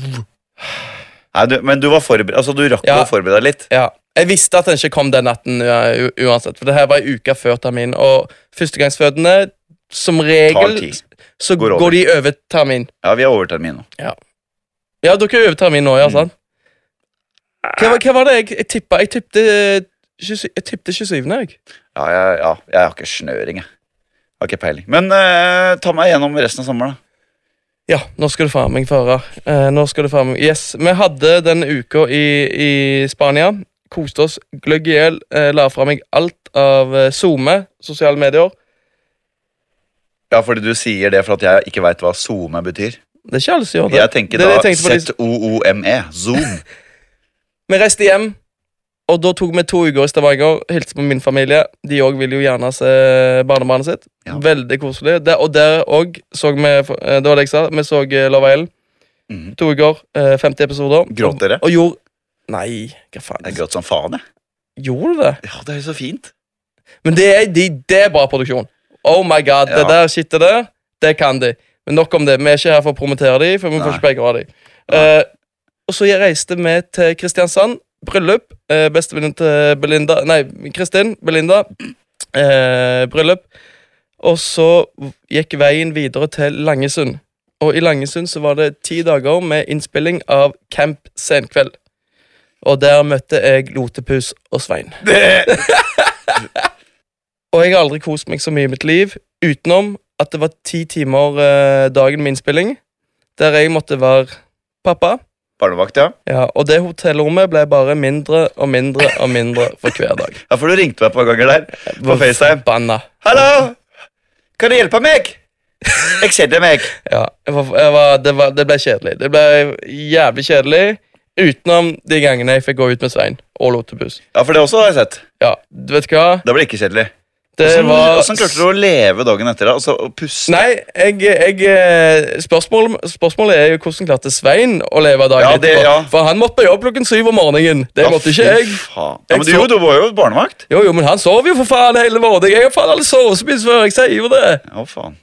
[SPEAKER 1] Nei, du, men du var forberedt, altså du rakk
[SPEAKER 2] Ja.
[SPEAKER 1] å forberede deg litt.
[SPEAKER 2] Ja. Jeg visste at den ikke kom den natten ja, u- uansett. For det her var ei uke før termin, og førstegangsfødende som
[SPEAKER 1] Tar
[SPEAKER 2] regel
[SPEAKER 1] tid.
[SPEAKER 2] så
[SPEAKER 1] Går
[SPEAKER 2] går,
[SPEAKER 1] over.
[SPEAKER 2] de over termin.
[SPEAKER 1] Ja, vi har overtermin nå.
[SPEAKER 2] Ja, dere er over termin nå,
[SPEAKER 1] Mm.
[SPEAKER 2] ja, sant? Hva, var- hva var det jeg, jeg tippa? Jeg tippte 27, jeg tippte 27., jeg.
[SPEAKER 1] Ja, jeg, ja, jeg har ikke snøring, jeg. Jeg Har ikke peiling. Men eh, ta meg gjennom resten av sommeren, da.
[SPEAKER 2] Ja, nå skal du faen meg føre. Eh, nå skal du faen meg Yes, vi hadde den uka i, i Spania. Koste oss gløgg i hjel. Eh, la fra meg alt av eh, SoMe, sosiale medier.
[SPEAKER 1] Ja, fordi du sier det for at jeg ikke veit hva zoome betyr.
[SPEAKER 2] Det er ikke alle som gjør det.
[SPEAKER 1] Jeg tenker
[SPEAKER 2] det er
[SPEAKER 1] da
[SPEAKER 2] det jeg tenkte på liksom. de-
[SPEAKER 1] Z-O-O-M-E. E, Zoom.
[SPEAKER 2] Vi reiste hjem, og da tok vi to uker i Stavanger. Hilste på min familie. De òg ville jo gjerne se barnebarnet sitt.
[SPEAKER 1] Ja.
[SPEAKER 2] Veldig koselig. Der, og der òg så vi eh, Det var det jeg sa. Vi så eh, Love Island.
[SPEAKER 1] Mhm.
[SPEAKER 2] To uker, eh, 50 episoder.
[SPEAKER 1] Gråt dere?
[SPEAKER 2] Og, og gjorde Nei, hva faen?
[SPEAKER 1] Jeg gråt som faen, jeg.
[SPEAKER 2] Gjorde du det?
[SPEAKER 1] Ja, det er jo så fint.
[SPEAKER 2] Men det er, de, det er bra produksjon. Oh my god,
[SPEAKER 1] Ja.
[SPEAKER 2] det der skittet der, det kan de. Men nok om det. Vi er ikke her for å promotere de, for
[SPEAKER 1] Nei.
[SPEAKER 2] vi får ikke penger av de.
[SPEAKER 1] Nei.
[SPEAKER 2] Eh, og så jeg reiste vi til Kristiansand. Bryllup. Uh, Bestevenninne til Belinda Nei, Kristin. Belinda. eh, bryllup. Og så gikk veien videre til Langesund. Og i Langesund så var det ti dager med innspilling av Camp Senkveld. Og der møtte jeg Lotepus og Svein.
[SPEAKER 1] Det,
[SPEAKER 2] Og jeg har aldri kost meg så mye i mitt liv utenom at det var ti timer eh, dagen med innspilling, der jeg måtte være pappa.
[SPEAKER 1] barnevakt, ja.
[SPEAKER 2] Ja, og det hotellrommet ble bare mindre og mindre og mindre for hver dag.
[SPEAKER 1] Ja, for du ringte meg et par ganger der. På FaceTime.
[SPEAKER 2] Forbanna.
[SPEAKER 1] Hallo! Kan du hjelpe meg? Jeg kjenner meg.
[SPEAKER 2] Ja, jeg var, jeg var, det, var, det ble kjedelig. Det ble jævlig kjedelig utenom de gangene jeg fikk gå ut med Svein og Lotepus.
[SPEAKER 1] Ja, for det også har jeg sett.
[SPEAKER 2] Ja, du vet hva?
[SPEAKER 1] Det ble ikke kjedelig.
[SPEAKER 2] Det
[SPEAKER 1] Hvordan-
[SPEAKER 2] var
[SPEAKER 1] Hvordan klarte du å leve dagen etter? da? Altså, å puste?
[SPEAKER 2] Nei, jeg, jeg eh, spørsmål, Spørsmålet er jo hvordan klarte Svein å leve dagen
[SPEAKER 1] Ja, det-
[SPEAKER 2] etterpå.
[SPEAKER 1] ja.
[SPEAKER 2] For han måtte på jobb klokken syv om morgenen. Det
[SPEAKER 1] Ja,
[SPEAKER 2] måtte
[SPEAKER 1] fy
[SPEAKER 2] ikke jeg.
[SPEAKER 1] Faen. Ja, men du,
[SPEAKER 2] Jeg så-
[SPEAKER 1] jo, du var jo barnevakt.
[SPEAKER 2] Jo, jo, men han sov jo for faen hele morgenen. Jeg har faen alle sovespist før. Jeg sier jo det.
[SPEAKER 1] Å, faen.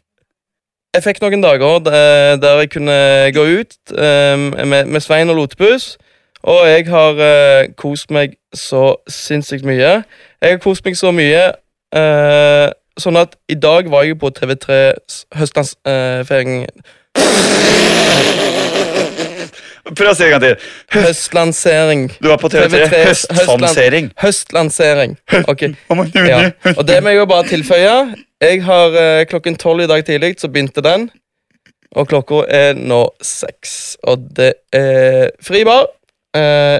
[SPEAKER 2] Jeg fikk noen dager eh, der jeg kunne gå ut eh, med, med Svein og Lotepus. Og jeg har eh, kost meg så sinnssykt mye. Jeg har kost meg så mye eh, sånn at i dag var jeg på TV3 Høstlandsfeiringen.
[SPEAKER 1] Prøv å si det en gang til.
[SPEAKER 2] høstlansering.
[SPEAKER 1] Du var på TV3.
[SPEAKER 2] TV3
[SPEAKER 1] Høstfansering.
[SPEAKER 2] Høstlansering. Ok,
[SPEAKER 1] Å, men,
[SPEAKER 2] ja.
[SPEAKER 1] Juni.
[SPEAKER 2] Og det må jeg jo bare tilføye. Jeg har eh, Klokken tolv i dag tidlig så begynte den, og klokka er nå seks. Og det er fri bar. Eh,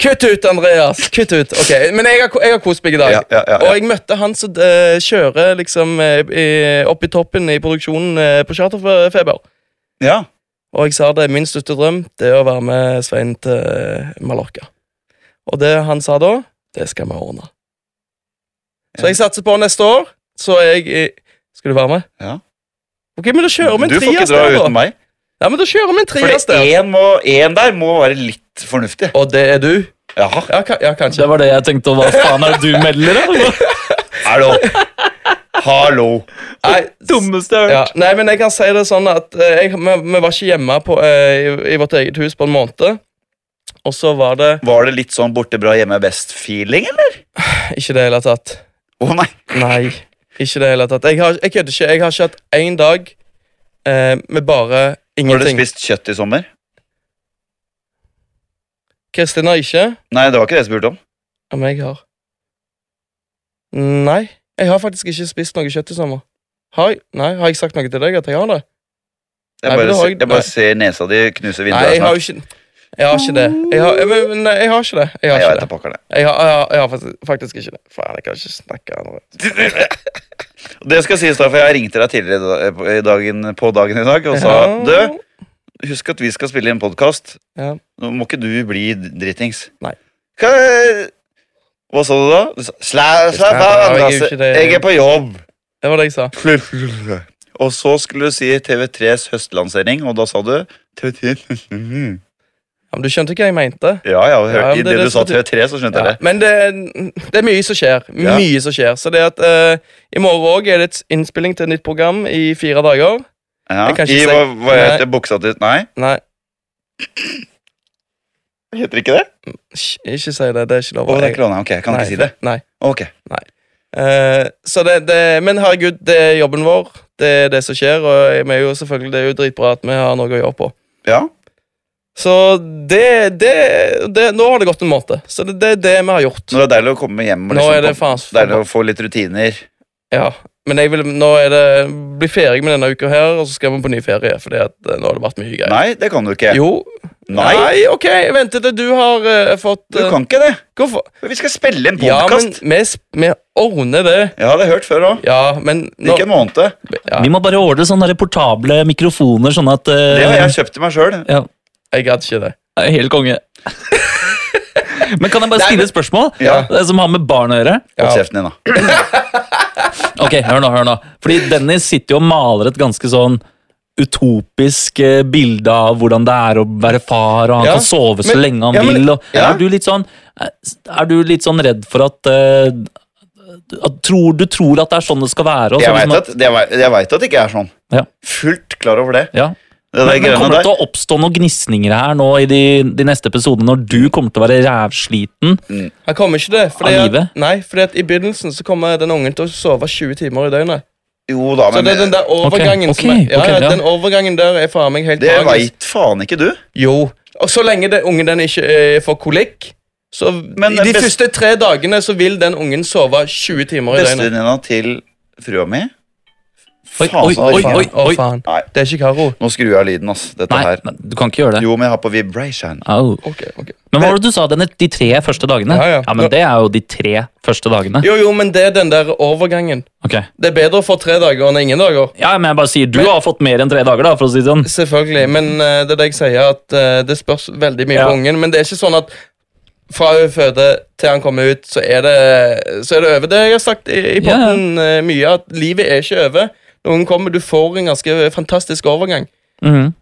[SPEAKER 2] kutt ut, Andreas! Kutt ut. Ok, Men jeg har, ko- jeg har kost meg i dag.
[SPEAKER 1] Ja, ja, ja,
[SPEAKER 2] Og
[SPEAKER 1] ja.
[SPEAKER 2] jeg møtte han som eh, kjører liksom eh, i- opp i toppen i produksjonen eh, på Charterfeber.
[SPEAKER 1] ja.
[SPEAKER 2] Og jeg sa det, min største drøm det er å være med Svein til eh, Mallorca. Og det han sa da, det skal vi ordne. Så jeg satser på neste år, så er jeg i Skal du være med?
[SPEAKER 1] Ja.
[SPEAKER 2] Ok, men da kjører vi en
[SPEAKER 1] Du får ikke
[SPEAKER 2] trias
[SPEAKER 1] dra
[SPEAKER 2] der,
[SPEAKER 1] uten
[SPEAKER 2] da.
[SPEAKER 1] meg.
[SPEAKER 2] Ja, men da kjører vi en trias
[SPEAKER 1] For
[SPEAKER 2] der.
[SPEAKER 1] én må- én der må være litt fornuftig.
[SPEAKER 2] Og det er du?
[SPEAKER 1] Jaha.
[SPEAKER 2] Ja, ka ja kanskje.
[SPEAKER 3] Det var det jeg tenkte. og Hva faen er det du melder, da?
[SPEAKER 1] Hallo. Hallo.
[SPEAKER 2] Nei,
[SPEAKER 3] Dummeste jeg har
[SPEAKER 2] ja.
[SPEAKER 3] hørt.
[SPEAKER 2] Nei, men jeg kan si det sånn at eh, jeg, vi, vi var ikke hjemme på, eh, i, i vårt eget hus på en måned. Og så var det
[SPEAKER 1] Var det litt sånn borte bra, hjemme best-feeling, eller?
[SPEAKER 2] ikke det hele tatt.
[SPEAKER 1] Å nei.
[SPEAKER 2] Nei, ikke det hele tatt. Jeg har, jeg kødder ikke. Jeg har ikke hatt én dag eh, med bare
[SPEAKER 1] Har du
[SPEAKER 2] ingenting.
[SPEAKER 1] spist kjøtt i sommer?
[SPEAKER 2] Kristin har ikke,
[SPEAKER 1] Nei, det var ikke det jeg spurte om.
[SPEAKER 2] ja, men jeg har. Nei, jeg har faktisk ikke spist noe kjøtt i sommer. Har jeg, nei, har jeg sagt noe til deg at jeg har det? Nei,
[SPEAKER 1] Jeg
[SPEAKER 2] men
[SPEAKER 1] bare,
[SPEAKER 2] det har
[SPEAKER 1] ser-
[SPEAKER 2] jeg-
[SPEAKER 1] jeg
[SPEAKER 2] nei.
[SPEAKER 1] bare ser nesa di knuse
[SPEAKER 2] Nei,
[SPEAKER 1] vinduet
[SPEAKER 2] jeg har jo ikke Jeg har ikke det. Jeg har, jeg, men, nei, jeg har ikke det.
[SPEAKER 1] Nei,
[SPEAKER 2] Jeg har
[SPEAKER 1] jeg
[SPEAKER 2] ikke
[SPEAKER 1] vet
[SPEAKER 2] det.
[SPEAKER 1] da pokker det.
[SPEAKER 2] Jeg har, jeg har, jeg har faktisk, faktisk ikke det. Faen, jeg kan ikke snakke andre.
[SPEAKER 1] Det skal sies, da, for jeg ringte deg tidligere i dag- i dagen, på dagen i dag og sa
[SPEAKER 2] Ja.
[SPEAKER 1] Du, husk at vi skal spille inn podkast.
[SPEAKER 2] Ja.
[SPEAKER 1] Nå må ikke du bli dritings.
[SPEAKER 2] Nei.
[SPEAKER 1] Hva, hva sa du da? Du sa, Sla, slapp av,
[SPEAKER 2] Nei, jeg er jo
[SPEAKER 1] Andreas.
[SPEAKER 2] ikke det.
[SPEAKER 1] altså. Jeg er på jobb.
[SPEAKER 2] Det var det jeg sa.
[SPEAKER 1] Og så skulle du si TV3s høstlansering, og da sa du TV3
[SPEAKER 2] Ja, men du skjønte ikke hva jeg mente.
[SPEAKER 1] Ja, ja,
[SPEAKER 2] Ja,
[SPEAKER 1] hør-
[SPEAKER 2] men
[SPEAKER 1] i
[SPEAKER 2] det er
[SPEAKER 1] det du
[SPEAKER 2] det
[SPEAKER 1] sa
[SPEAKER 2] som betyr-
[SPEAKER 1] TV3, så skjønte
[SPEAKER 2] Ja,
[SPEAKER 1] jeg det.
[SPEAKER 2] men det, det er mye som skjer.
[SPEAKER 1] Ja.
[SPEAKER 2] Mye som skjer. Så det at eh, i morgen òg er det et innspilling til et nytt program i fire dager.
[SPEAKER 1] Ja.
[SPEAKER 2] Jeg kan ikke
[SPEAKER 1] I
[SPEAKER 2] si-
[SPEAKER 1] hva, hva
[SPEAKER 2] Nei.
[SPEAKER 1] heter buksa til Nei,
[SPEAKER 2] Nei,
[SPEAKER 1] heter ikke det?
[SPEAKER 2] hysj, ikke si det. Det er ikke lov.
[SPEAKER 1] Å, det er ikke lov, nei. Ok, jeg kan
[SPEAKER 2] Nei,
[SPEAKER 1] ikke si det.
[SPEAKER 2] Nei.
[SPEAKER 1] Ok,
[SPEAKER 2] Eh, så det, det, men herregud, det er jobben vår. Det er det som skjer, og vi er jo selvfølgelig, det er jo dritbra at vi har noe å gjøre på.
[SPEAKER 1] ja.
[SPEAKER 2] Så det, det, det Nå har det gått en måned. Så det det er det, vi har gjort.
[SPEAKER 1] Men det er deilig å komme hjem. og
[SPEAKER 2] Nå er det
[SPEAKER 1] på-
[SPEAKER 2] faen
[SPEAKER 1] Deilig å få litt rutiner.
[SPEAKER 2] Ja, men jeg vil, nå er det bli ferdig med denne uka her, og så skal vi på ny ferie. Fordi at eh, nå har det vært mye greier.
[SPEAKER 1] Nei, det kan du ikke.
[SPEAKER 2] Jo.
[SPEAKER 1] Nei,
[SPEAKER 2] ok, vent til du har eh, fått
[SPEAKER 1] du
[SPEAKER 2] eh,
[SPEAKER 1] kan ikke det.
[SPEAKER 2] Hvorfor?
[SPEAKER 1] Vi skal spille en
[SPEAKER 2] Ja, men
[SPEAKER 1] podkast.
[SPEAKER 2] vi, sp- vi ordner det.
[SPEAKER 1] Jeg hadde hørt før òg.
[SPEAKER 2] Ja, men nå,
[SPEAKER 1] Ikke en måned.
[SPEAKER 2] ja,
[SPEAKER 3] Vi må bare ordne sånne reportable mikrofoner, sånn at eh,
[SPEAKER 1] Det har jeg kjøpt til meg sjøl.
[SPEAKER 3] ja,
[SPEAKER 2] jeg gadd ikke det.
[SPEAKER 3] det er Helt konge. Men kan jeg bare stille et spørsmål
[SPEAKER 1] Ja.
[SPEAKER 3] Det som har med barn å gjøre?
[SPEAKER 1] Hold
[SPEAKER 2] Ja.
[SPEAKER 1] kjeften din, da.
[SPEAKER 3] Ok, hør nå, hør nå. Fordi Dennis sitter jo og maler et ganske sånn utopisk eh, bilde av hvordan det er å være far, og han
[SPEAKER 2] Ja,
[SPEAKER 3] kan sove så
[SPEAKER 2] men-
[SPEAKER 3] lenge han
[SPEAKER 1] ja, men-
[SPEAKER 3] vil. Og,
[SPEAKER 1] ja.
[SPEAKER 3] er, du litt sånn, er du litt sånn redd for at, eh, at tror, Du tror at det er sånn det skal være? Og
[SPEAKER 1] Jeg
[SPEAKER 3] sånn
[SPEAKER 1] veit
[SPEAKER 3] som
[SPEAKER 1] at, jeg vet- jeg vet at det ikke er sånn.
[SPEAKER 3] Ja.
[SPEAKER 1] Fullt klar over det.
[SPEAKER 3] ja.
[SPEAKER 1] Det der
[SPEAKER 3] Men, men
[SPEAKER 1] greiene
[SPEAKER 3] kommer
[SPEAKER 1] der.
[SPEAKER 3] det til å oppstå noen gnisninger her nå i de, de neste episodene, når du kommer til å være rævsliten?
[SPEAKER 2] Han kommer ikke det. Fordi
[SPEAKER 3] Av
[SPEAKER 2] at,
[SPEAKER 3] livet?
[SPEAKER 2] nei, fordi at i begynnelsen så kommer den ungen til å sove 20 timer i døgnet.
[SPEAKER 1] Jo da,
[SPEAKER 2] Så
[SPEAKER 1] men
[SPEAKER 2] det er den der overgangen som er,
[SPEAKER 3] ok,
[SPEAKER 2] ja,
[SPEAKER 3] ok,
[SPEAKER 2] ja,
[SPEAKER 3] ja.
[SPEAKER 2] Den overgangen der er faen meg helt
[SPEAKER 1] det
[SPEAKER 2] magisk.
[SPEAKER 1] veit faen ikke du.
[SPEAKER 2] Jo. Og så lenge den ungen den ikke eh, får kolikk så
[SPEAKER 1] Men eh,
[SPEAKER 2] I de
[SPEAKER 1] best-
[SPEAKER 2] første tre dagene så vil den ungen sove 20 timer i døgnet.
[SPEAKER 1] Bestevenninna til frua mi
[SPEAKER 3] Oi,
[SPEAKER 1] Faen,
[SPEAKER 3] oi,
[SPEAKER 1] så-
[SPEAKER 3] oi,
[SPEAKER 1] faen.
[SPEAKER 3] oi.
[SPEAKER 2] Å, faen.
[SPEAKER 1] Nei.
[SPEAKER 2] Det er ikke Karo.
[SPEAKER 1] Nå skrur jeg av lyden, ass. Dette
[SPEAKER 3] Nei,
[SPEAKER 1] her.
[SPEAKER 3] nei, du kan ikke gjøre det.
[SPEAKER 1] Jo, men jeg har på vibration.
[SPEAKER 3] Au.
[SPEAKER 2] Ok, ok.
[SPEAKER 3] Men hva var det du sa, Dennis? De tre første dagene?
[SPEAKER 2] Ja, ja.
[SPEAKER 3] men Det er jo de tre første dagene.
[SPEAKER 2] Jo, jo, men det er den der overgangen.
[SPEAKER 3] Ok.
[SPEAKER 2] Det er bedre å få tre dager enn ingen dager.
[SPEAKER 3] Ja, men jeg bare sier, du har fått mer enn tre dager, da, for å si det sånn.
[SPEAKER 2] Selvfølgelig, men eh, det er det jeg sier, at eh, det spørs veldig mye
[SPEAKER 3] Ja.
[SPEAKER 2] på ungen. Men det er ikke sånn at fra hun føder til han kommer ut, så er det, så er det over. Det jeg har sagt i, i
[SPEAKER 3] Ja, ja.
[SPEAKER 2] potten eh, mye, at livet er ikke over. Når hun kommer, du får en ganske fantastisk overgang.
[SPEAKER 3] Mhm.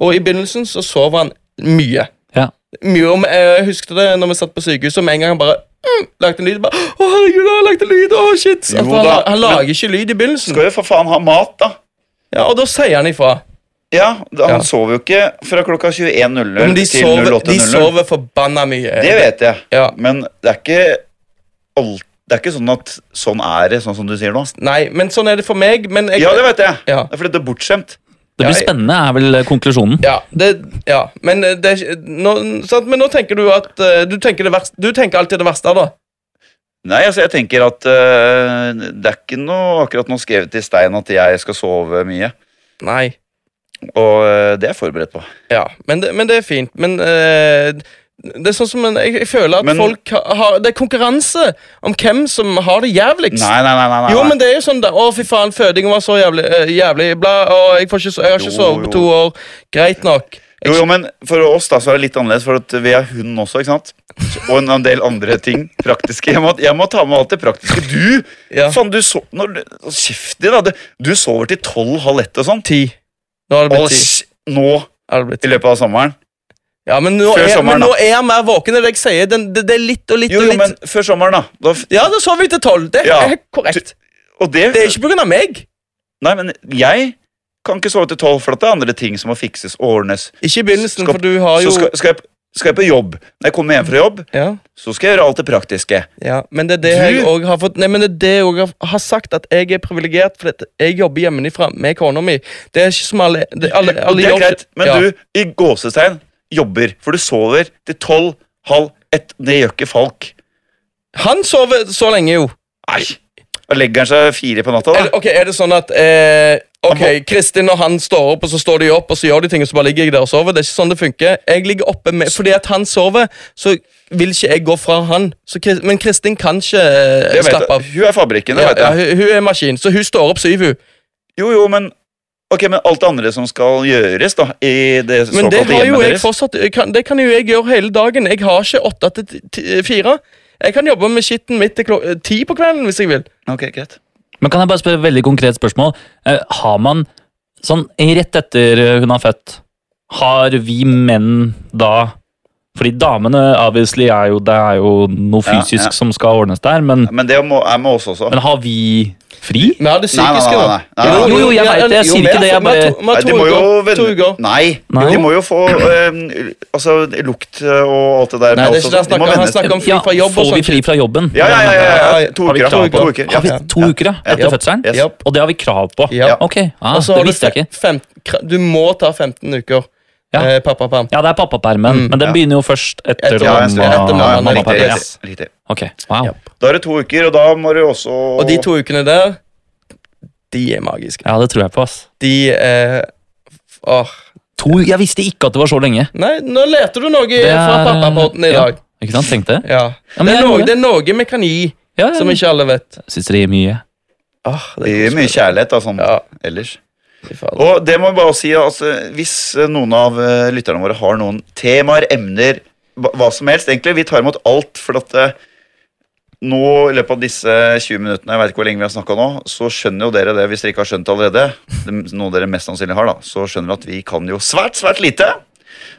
[SPEAKER 2] Og i begynnelsen så sover han mye.
[SPEAKER 3] Ja.
[SPEAKER 2] Mye om, eh, jeg husker det når vi satt på sykehuset, med en gang han bare mm, lagde en lyd. bare, Å, herregud, han lagde en lyd! Å, shit!
[SPEAKER 1] Jo
[SPEAKER 2] At han,
[SPEAKER 1] da,
[SPEAKER 2] han
[SPEAKER 1] men-
[SPEAKER 2] lager ikke lyd i begynnelsen.
[SPEAKER 1] Skal jo for faen ha mat, da.
[SPEAKER 2] Ja, Og da sier han ifra.
[SPEAKER 1] Ja, da- Han
[SPEAKER 2] Ja.
[SPEAKER 1] sover jo ikke fra klokka
[SPEAKER 2] Men
[SPEAKER 1] 21.00
[SPEAKER 2] de
[SPEAKER 1] til
[SPEAKER 2] sover, de
[SPEAKER 1] 08.00.
[SPEAKER 2] sover forbanna mye.
[SPEAKER 1] Det vet jeg.
[SPEAKER 2] Ja.
[SPEAKER 1] Men det er ikke alt Det er ikke sånn at sånn er det, sånn som du sier nå.
[SPEAKER 2] Nei, men sånn er det for meg. Men jeg,
[SPEAKER 1] Ja, det vet jeg.
[SPEAKER 2] Ja.
[SPEAKER 1] Det er fordi det er bortskjemt.
[SPEAKER 3] Det blir
[SPEAKER 2] Ja, jeg-
[SPEAKER 3] spennende, er vel eh, konklusjonen.
[SPEAKER 2] Ja, det, ja, men eh, det er ikke- nå, sant? Men nå tenker du at eh, Du tenker, det verste, du tenker alltid det verste, da.
[SPEAKER 1] Nei, altså jeg tenker at øh, det er ikke noe akkurat noe skrevet i stein at jeg skal sove mye.
[SPEAKER 2] Nei.
[SPEAKER 1] Og øh, det er jeg forberedt på.
[SPEAKER 2] Ja, men det, men det er fint. Men eh, det er sånn som en, jeg, jeg føler at
[SPEAKER 1] Men-
[SPEAKER 2] folk ha- har Det er konkurranse om hvem som har det jævligst.
[SPEAKER 1] Nei, nei, nei. nei, nei.
[SPEAKER 2] Jo, men det er jo sånn da, Å, fy faen, fødingen var så jævlig. eh, jævlig bla, å, jeg, får ikke, so- jeg har ikke
[SPEAKER 1] Jo,
[SPEAKER 2] sovet på
[SPEAKER 1] jo.
[SPEAKER 2] to år. Greit nok.
[SPEAKER 1] jo, jo, men for oss da, så er det litt annerledes, for at vi har hund også, ikke sant? Og en del andre ting. Praktiske. Jeg må, jeg må ta med alt det praktiske. Du!
[SPEAKER 2] Ja.
[SPEAKER 1] Faen, du so- når du- Kjeft i, da. Du, du sover til tolv, halv ett og sånn.
[SPEAKER 2] Ti. Nå har det
[SPEAKER 1] Og
[SPEAKER 2] blitt ti.
[SPEAKER 1] sj- nå,
[SPEAKER 2] Har det blitt ti.
[SPEAKER 1] i løpet av sommeren
[SPEAKER 2] Ja, men nå,
[SPEAKER 1] Før
[SPEAKER 2] er, men
[SPEAKER 1] sommeren,
[SPEAKER 2] nå
[SPEAKER 1] da.
[SPEAKER 2] er jeg mer våken enn det jeg sier. Den, det, det er litt og litt
[SPEAKER 1] Jo, jo,
[SPEAKER 2] og litt.
[SPEAKER 1] men før sommeren, da. da f-
[SPEAKER 2] Ja, da sover vi til tolv. Det er
[SPEAKER 1] Ja.
[SPEAKER 2] helt korrekt.
[SPEAKER 1] og det,
[SPEAKER 2] Det er ikke på grunn av meg.
[SPEAKER 1] Nei, men jeg kan ikke sove til tolv, for at det er andre ting som må fikses og ordnes.
[SPEAKER 2] Ikke i begynnelsen,
[SPEAKER 1] Skal-
[SPEAKER 2] for du
[SPEAKER 1] Så
[SPEAKER 2] har Ah, jo
[SPEAKER 1] skal, skal jeg skal jeg på jobb. Når jeg kommer hjem fra jobb,
[SPEAKER 2] Ja,
[SPEAKER 1] så skal jeg gjøre alt det praktiske.
[SPEAKER 2] ja. Men det er det
[SPEAKER 1] Du-
[SPEAKER 2] jeg òg har fått Nei, men det er det jeg også har- har sagt, at jeg er privilegert fordi at jeg jobber hjemmefra med kona mi. Det er ikke som alle, det, alle,
[SPEAKER 1] Og
[SPEAKER 2] alle
[SPEAKER 1] det er
[SPEAKER 2] jobb-
[SPEAKER 1] greit, men
[SPEAKER 2] ja.
[SPEAKER 1] du, i gåsetegn, jobber. For du sover til tolv, halv ett. Det gjør ikke Falk.
[SPEAKER 2] Han sover så lenge, jo.
[SPEAKER 1] Nei! Da legger han seg fire på natta,
[SPEAKER 2] Eller,
[SPEAKER 1] da.
[SPEAKER 2] ok, Er det sånn at eh, Ok,
[SPEAKER 1] Han
[SPEAKER 2] Kristin og han står opp, og så står de opp, og så gjør de ting, og så bare ligger jeg der og sover. Det er ikke sånn det funker. Jeg ligger oppe med, Fordi at han sover, så vil ikke jeg gå fra han. Så, Kris- men Kristin kan ikke eh,
[SPEAKER 1] Jeg vet,
[SPEAKER 2] slappe
[SPEAKER 1] det.
[SPEAKER 2] av.
[SPEAKER 1] hun er fabrikken, det
[SPEAKER 2] Ja,
[SPEAKER 1] vet
[SPEAKER 2] ja,
[SPEAKER 1] jeg.
[SPEAKER 2] hun, hun er maskin, så hun står opp syv, hun.
[SPEAKER 1] Jo, jo, men Ok, men alt det andre som skal gjøres, da, i det
[SPEAKER 2] Men
[SPEAKER 1] såkalte
[SPEAKER 2] det har jo
[SPEAKER 1] hjemmet
[SPEAKER 2] jeg
[SPEAKER 1] deres
[SPEAKER 2] fortsatt jeg kan, Det kan jo jeg gjøre hele dagen. Jeg har ikke åtte til ti- ti- eh, fire. Jeg kan jobbe med skitten mitt til klok ti på kvelden hvis jeg vil.
[SPEAKER 1] Ok, greit.
[SPEAKER 3] Men kan jeg bare spørre et veldig konkret spørsmål? Eh, har man, sånn rett etter eh, hun har født, har vi menn da Fordi damene obviously er jo, det er jo noe
[SPEAKER 1] Ja,
[SPEAKER 3] fysisk
[SPEAKER 1] ja.
[SPEAKER 3] som skal ordnes der, men,
[SPEAKER 1] Men det må, er med oss også.
[SPEAKER 3] men har vi fri?
[SPEAKER 2] Vi har det
[SPEAKER 1] Nei, nei, nei,
[SPEAKER 2] psykiske, da.
[SPEAKER 1] nei, nei, nei.
[SPEAKER 3] Jo, jo, jeg vet det, jeg sier
[SPEAKER 2] vi
[SPEAKER 3] ikke det, jeg
[SPEAKER 2] har- vi har
[SPEAKER 3] bare-
[SPEAKER 2] altså, to- vi har
[SPEAKER 1] Nei,
[SPEAKER 2] to
[SPEAKER 1] de må jo
[SPEAKER 2] uker,
[SPEAKER 1] vende-
[SPEAKER 2] to uker.
[SPEAKER 1] Nei,
[SPEAKER 3] Nei.
[SPEAKER 1] de må jo få eh, altså, lukt og alt det der.
[SPEAKER 2] Nei,
[SPEAKER 1] også. De
[SPEAKER 2] det er ikke det han
[SPEAKER 1] må
[SPEAKER 2] snakker om. Han
[SPEAKER 1] vende-
[SPEAKER 2] snakker om fri fra jobb og sånn.
[SPEAKER 3] får vi
[SPEAKER 2] sånt.
[SPEAKER 3] fri fra jobben?
[SPEAKER 1] ja, ja, ja, ja, ja. To
[SPEAKER 3] Har
[SPEAKER 1] uker,
[SPEAKER 3] vi
[SPEAKER 1] ja.
[SPEAKER 3] krav på
[SPEAKER 1] To
[SPEAKER 3] det?
[SPEAKER 1] uker,
[SPEAKER 3] Har vi
[SPEAKER 1] ja.
[SPEAKER 3] to uker ja, etter
[SPEAKER 2] Ja.
[SPEAKER 3] fødselen?
[SPEAKER 1] Yes.
[SPEAKER 2] Japp.
[SPEAKER 3] Og det har vi krav på?
[SPEAKER 2] Ja.
[SPEAKER 3] Ok, ah,
[SPEAKER 2] Og så har
[SPEAKER 3] det
[SPEAKER 2] du
[SPEAKER 3] visste jeg ikke.
[SPEAKER 2] fe- fem, kra- du må ta 15 uker
[SPEAKER 3] Ja.
[SPEAKER 2] eh, pappaperm.
[SPEAKER 3] Ja, det er pappapermen,
[SPEAKER 2] Mm,
[SPEAKER 3] men den
[SPEAKER 1] ja.
[SPEAKER 3] begynner jo først etter
[SPEAKER 2] Etter-
[SPEAKER 1] Ja, en
[SPEAKER 3] man
[SPEAKER 1] stund.
[SPEAKER 3] var-
[SPEAKER 1] Ja,
[SPEAKER 2] etter man
[SPEAKER 1] ja,
[SPEAKER 2] har
[SPEAKER 1] men
[SPEAKER 2] pappa,
[SPEAKER 1] riktig,
[SPEAKER 3] pappaperm.
[SPEAKER 1] riktig,
[SPEAKER 2] ja.
[SPEAKER 1] riktig.
[SPEAKER 3] Ok, wow.
[SPEAKER 2] Ja.
[SPEAKER 1] Da er det to uker, og da må du også
[SPEAKER 2] Og de to ukene der, de er magiske.
[SPEAKER 3] Ja, det tror jeg på, ass.
[SPEAKER 2] De er f- Åh.
[SPEAKER 3] To, jeg visste ikke at det var så lenge.
[SPEAKER 2] Nei, nå leter du noe
[SPEAKER 3] er-
[SPEAKER 2] fra pappapotten i
[SPEAKER 3] ja.
[SPEAKER 2] dag.
[SPEAKER 3] Ikke sant, tenkte jeg.
[SPEAKER 2] Ja.
[SPEAKER 3] Ja, men
[SPEAKER 2] det, er
[SPEAKER 3] jeg
[SPEAKER 2] noe,
[SPEAKER 3] gjorde
[SPEAKER 2] det er noe vi kan gi,
[SPEAKER 3] Ja, ja,
[SPEAKER 2] som ikke alle vet.
[SPEAKER 3] Syns dere gir mye?
[SPEAKER 2] Åh,
[SPEAKER 1] Det gir mye kjærlighet, da, sånn
[SPEAKER 2] Ja.
[SPEAKER 1] ellers.
[SPEAKER 2] Fy faen.
[SPEAKER 1] Og det må jeg bare si, altså, hvis eh, noen av eh, lytterne våre har noen temaer, emner, hva hva som helst, egentlig, vi tar imot alt, for at eh, nå, i løpet av disse 20 minuttene, jeg vet ikke hvor lenge vi har snakket nå, så skjønner jo dere det, hvis dere ikke har skjønt det allerede, det- noe dere mest sannsynlig har da, så skjønner dere at vi kan jo svært, svært lite.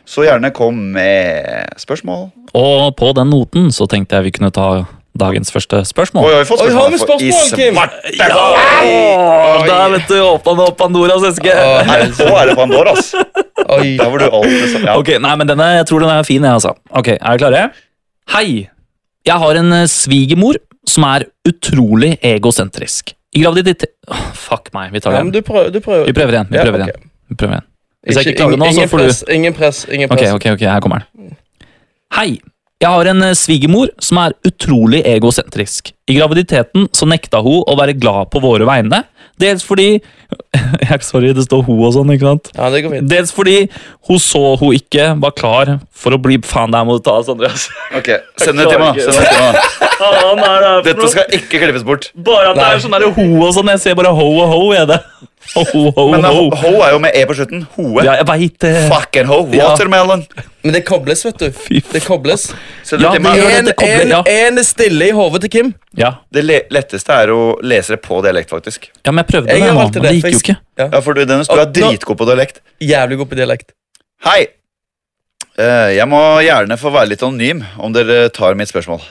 [SPEAKER 1] Så gjerne kom med spørsmål.
[SPEAKER 3] Og på den noten så tenkte jeg vi kunne ta dagens første
[SPEAKER 1] Oi,
[SPEAKER 3] spørsmål.
[SPEAKER 1] har vi fått
[SPEAKER 2] Oi, har vi
[SPEAKER 1] For
[SPEAKER 2] spørsmål,
[SPEAKER 1] i
[SPEAKER 2] Kim?
[SPEAKER 1] svarte
[SPEAKER 3] Åh,
[SPEAKER 1] Oi.
[SPEAKER 3] der vet du åpna nå Pandoras eske!
[SPEAKER 2] Åh,
[SPEAKER 1] Nei, så er det Pandora, ass.
[SPEAKER 2] Oi.
[SPEAKER 1] Der var du alltid sånn. Ja.
[SPEAKER 3] Ok, nei, men denne, Jeg tror den er fin, jeg, altså. Ok, Er dere klare? Hei! Jeg har en eh, svigermor som er utrolig egosentrisk. I graviditet Åh, Fuck meg, vi tar
[SPEAKER 2] Ja,
[SPEAKER 3] det
[SPEAKER 2] men
[SPEAKER 3] igjen.
[SPEAKER 2] du prøver. Du prøver.
[SPEAKER 3] Vi prøver igjen. vi
[SPEAKER 2] Ja,
[SPEAKER 3] prøver
[SPEAKER 2] ok.
[SPEAKER 3] igjen. Vi prøver igjen. Hvis jeg ikke klarer
[SPEAKER 2] ingen,
[SPEAKER 3] det nå, så
[SPEAKER 2] ingen
[SPEAKER 3] får du
[SPEAKER 2] press, ingen press. Ingen
[SPEAKER 3] Ok,
[SPEAKER 2] press.
[SPEAKER 3] ok, ok, her kommer den. Hei! Jeg har en eh, svigermor som er utrolig egosentrisk. I graviditeten så nekta hun å være glad på våre vegne. Dels fordi Sorry, det står 'ho' og sånn, ikke sant?
[SPEAKER 2] Ja, det går fint.
[SPEAKER 3] Dels fordi hun så hun ikke var klar for å bli Faen, det her må du ta, Sondre. ass.
[SPEAKER 1] Ok, send det til meg. Send det til meg.
[SPEAKER 3] Faen, er det her for
[SPEAKER 1] Dette
[SPEAKER 3] noe?
[SPEAKER 1] skal ikke klippes bort.
[SPEAKER 3] Bare at det er
[SPEAKER 2] Nei.
[SPEAKER 3] sånn derre ho og sånn. Jeg ser bare ho og ho, jeg. Det. Ho, ho,
[SPEAKER 1] Men ho,
[SPEAKER 3] ho.
[SPEAKER 1] ho er jo med E på slutten. Hoe.
[SPEAKER 3] Ja, jeg veit det.
[SPEAKER 1] Fucking ho. Watermelon.
[SPEAKER 2] Men det kobles, vet du. Det kobles.
[SPEAKER 1] Send det
[SPEAKER 3] Ja,
[SPEAKER 1] til
[SPEAKER 3] det
[SPEAKER 1] meg.
[SPEAKER 3] gjør det.
[SPEAKER 2] En,
[SPEAKER 3] dette kobler,
[SPEAKER 2] en,
[SPEAKER 3] ja.
[SPEAKER 2] en er stille i hodet til Kim.
[SPEAKER 3] Ja.
[SPEAKER 1] Det le letteste er å lese det på dialekt, faktisk.
[SPEAKER 3] ja, men jeg prøvde
[SPEAKER 2] Jeg
[SPEAKER 3] det,
[SPEAKER 2] har
[SPEAKER 3] nå,
[SPEAKER 2] alltid
[SPEAKER 3] men det
[SPEAKER 2] det,
[SPEAKER 3] gikk jo
[SPEAKER 2] faktisk.
[SPEAKER 3] ikke.
[SPEAKER 1] Ja, for du, Dennis, du er
[SPEAKER 2] Og nå-
[SPEAKER 1] dritgod på dialekt.
[SPEAKER 2] Jævlig god på dialekt.
[SPEAKER 1] Hei. Eh, jeg må gjerne få være litt anonym om dere tar mitt spørsmål.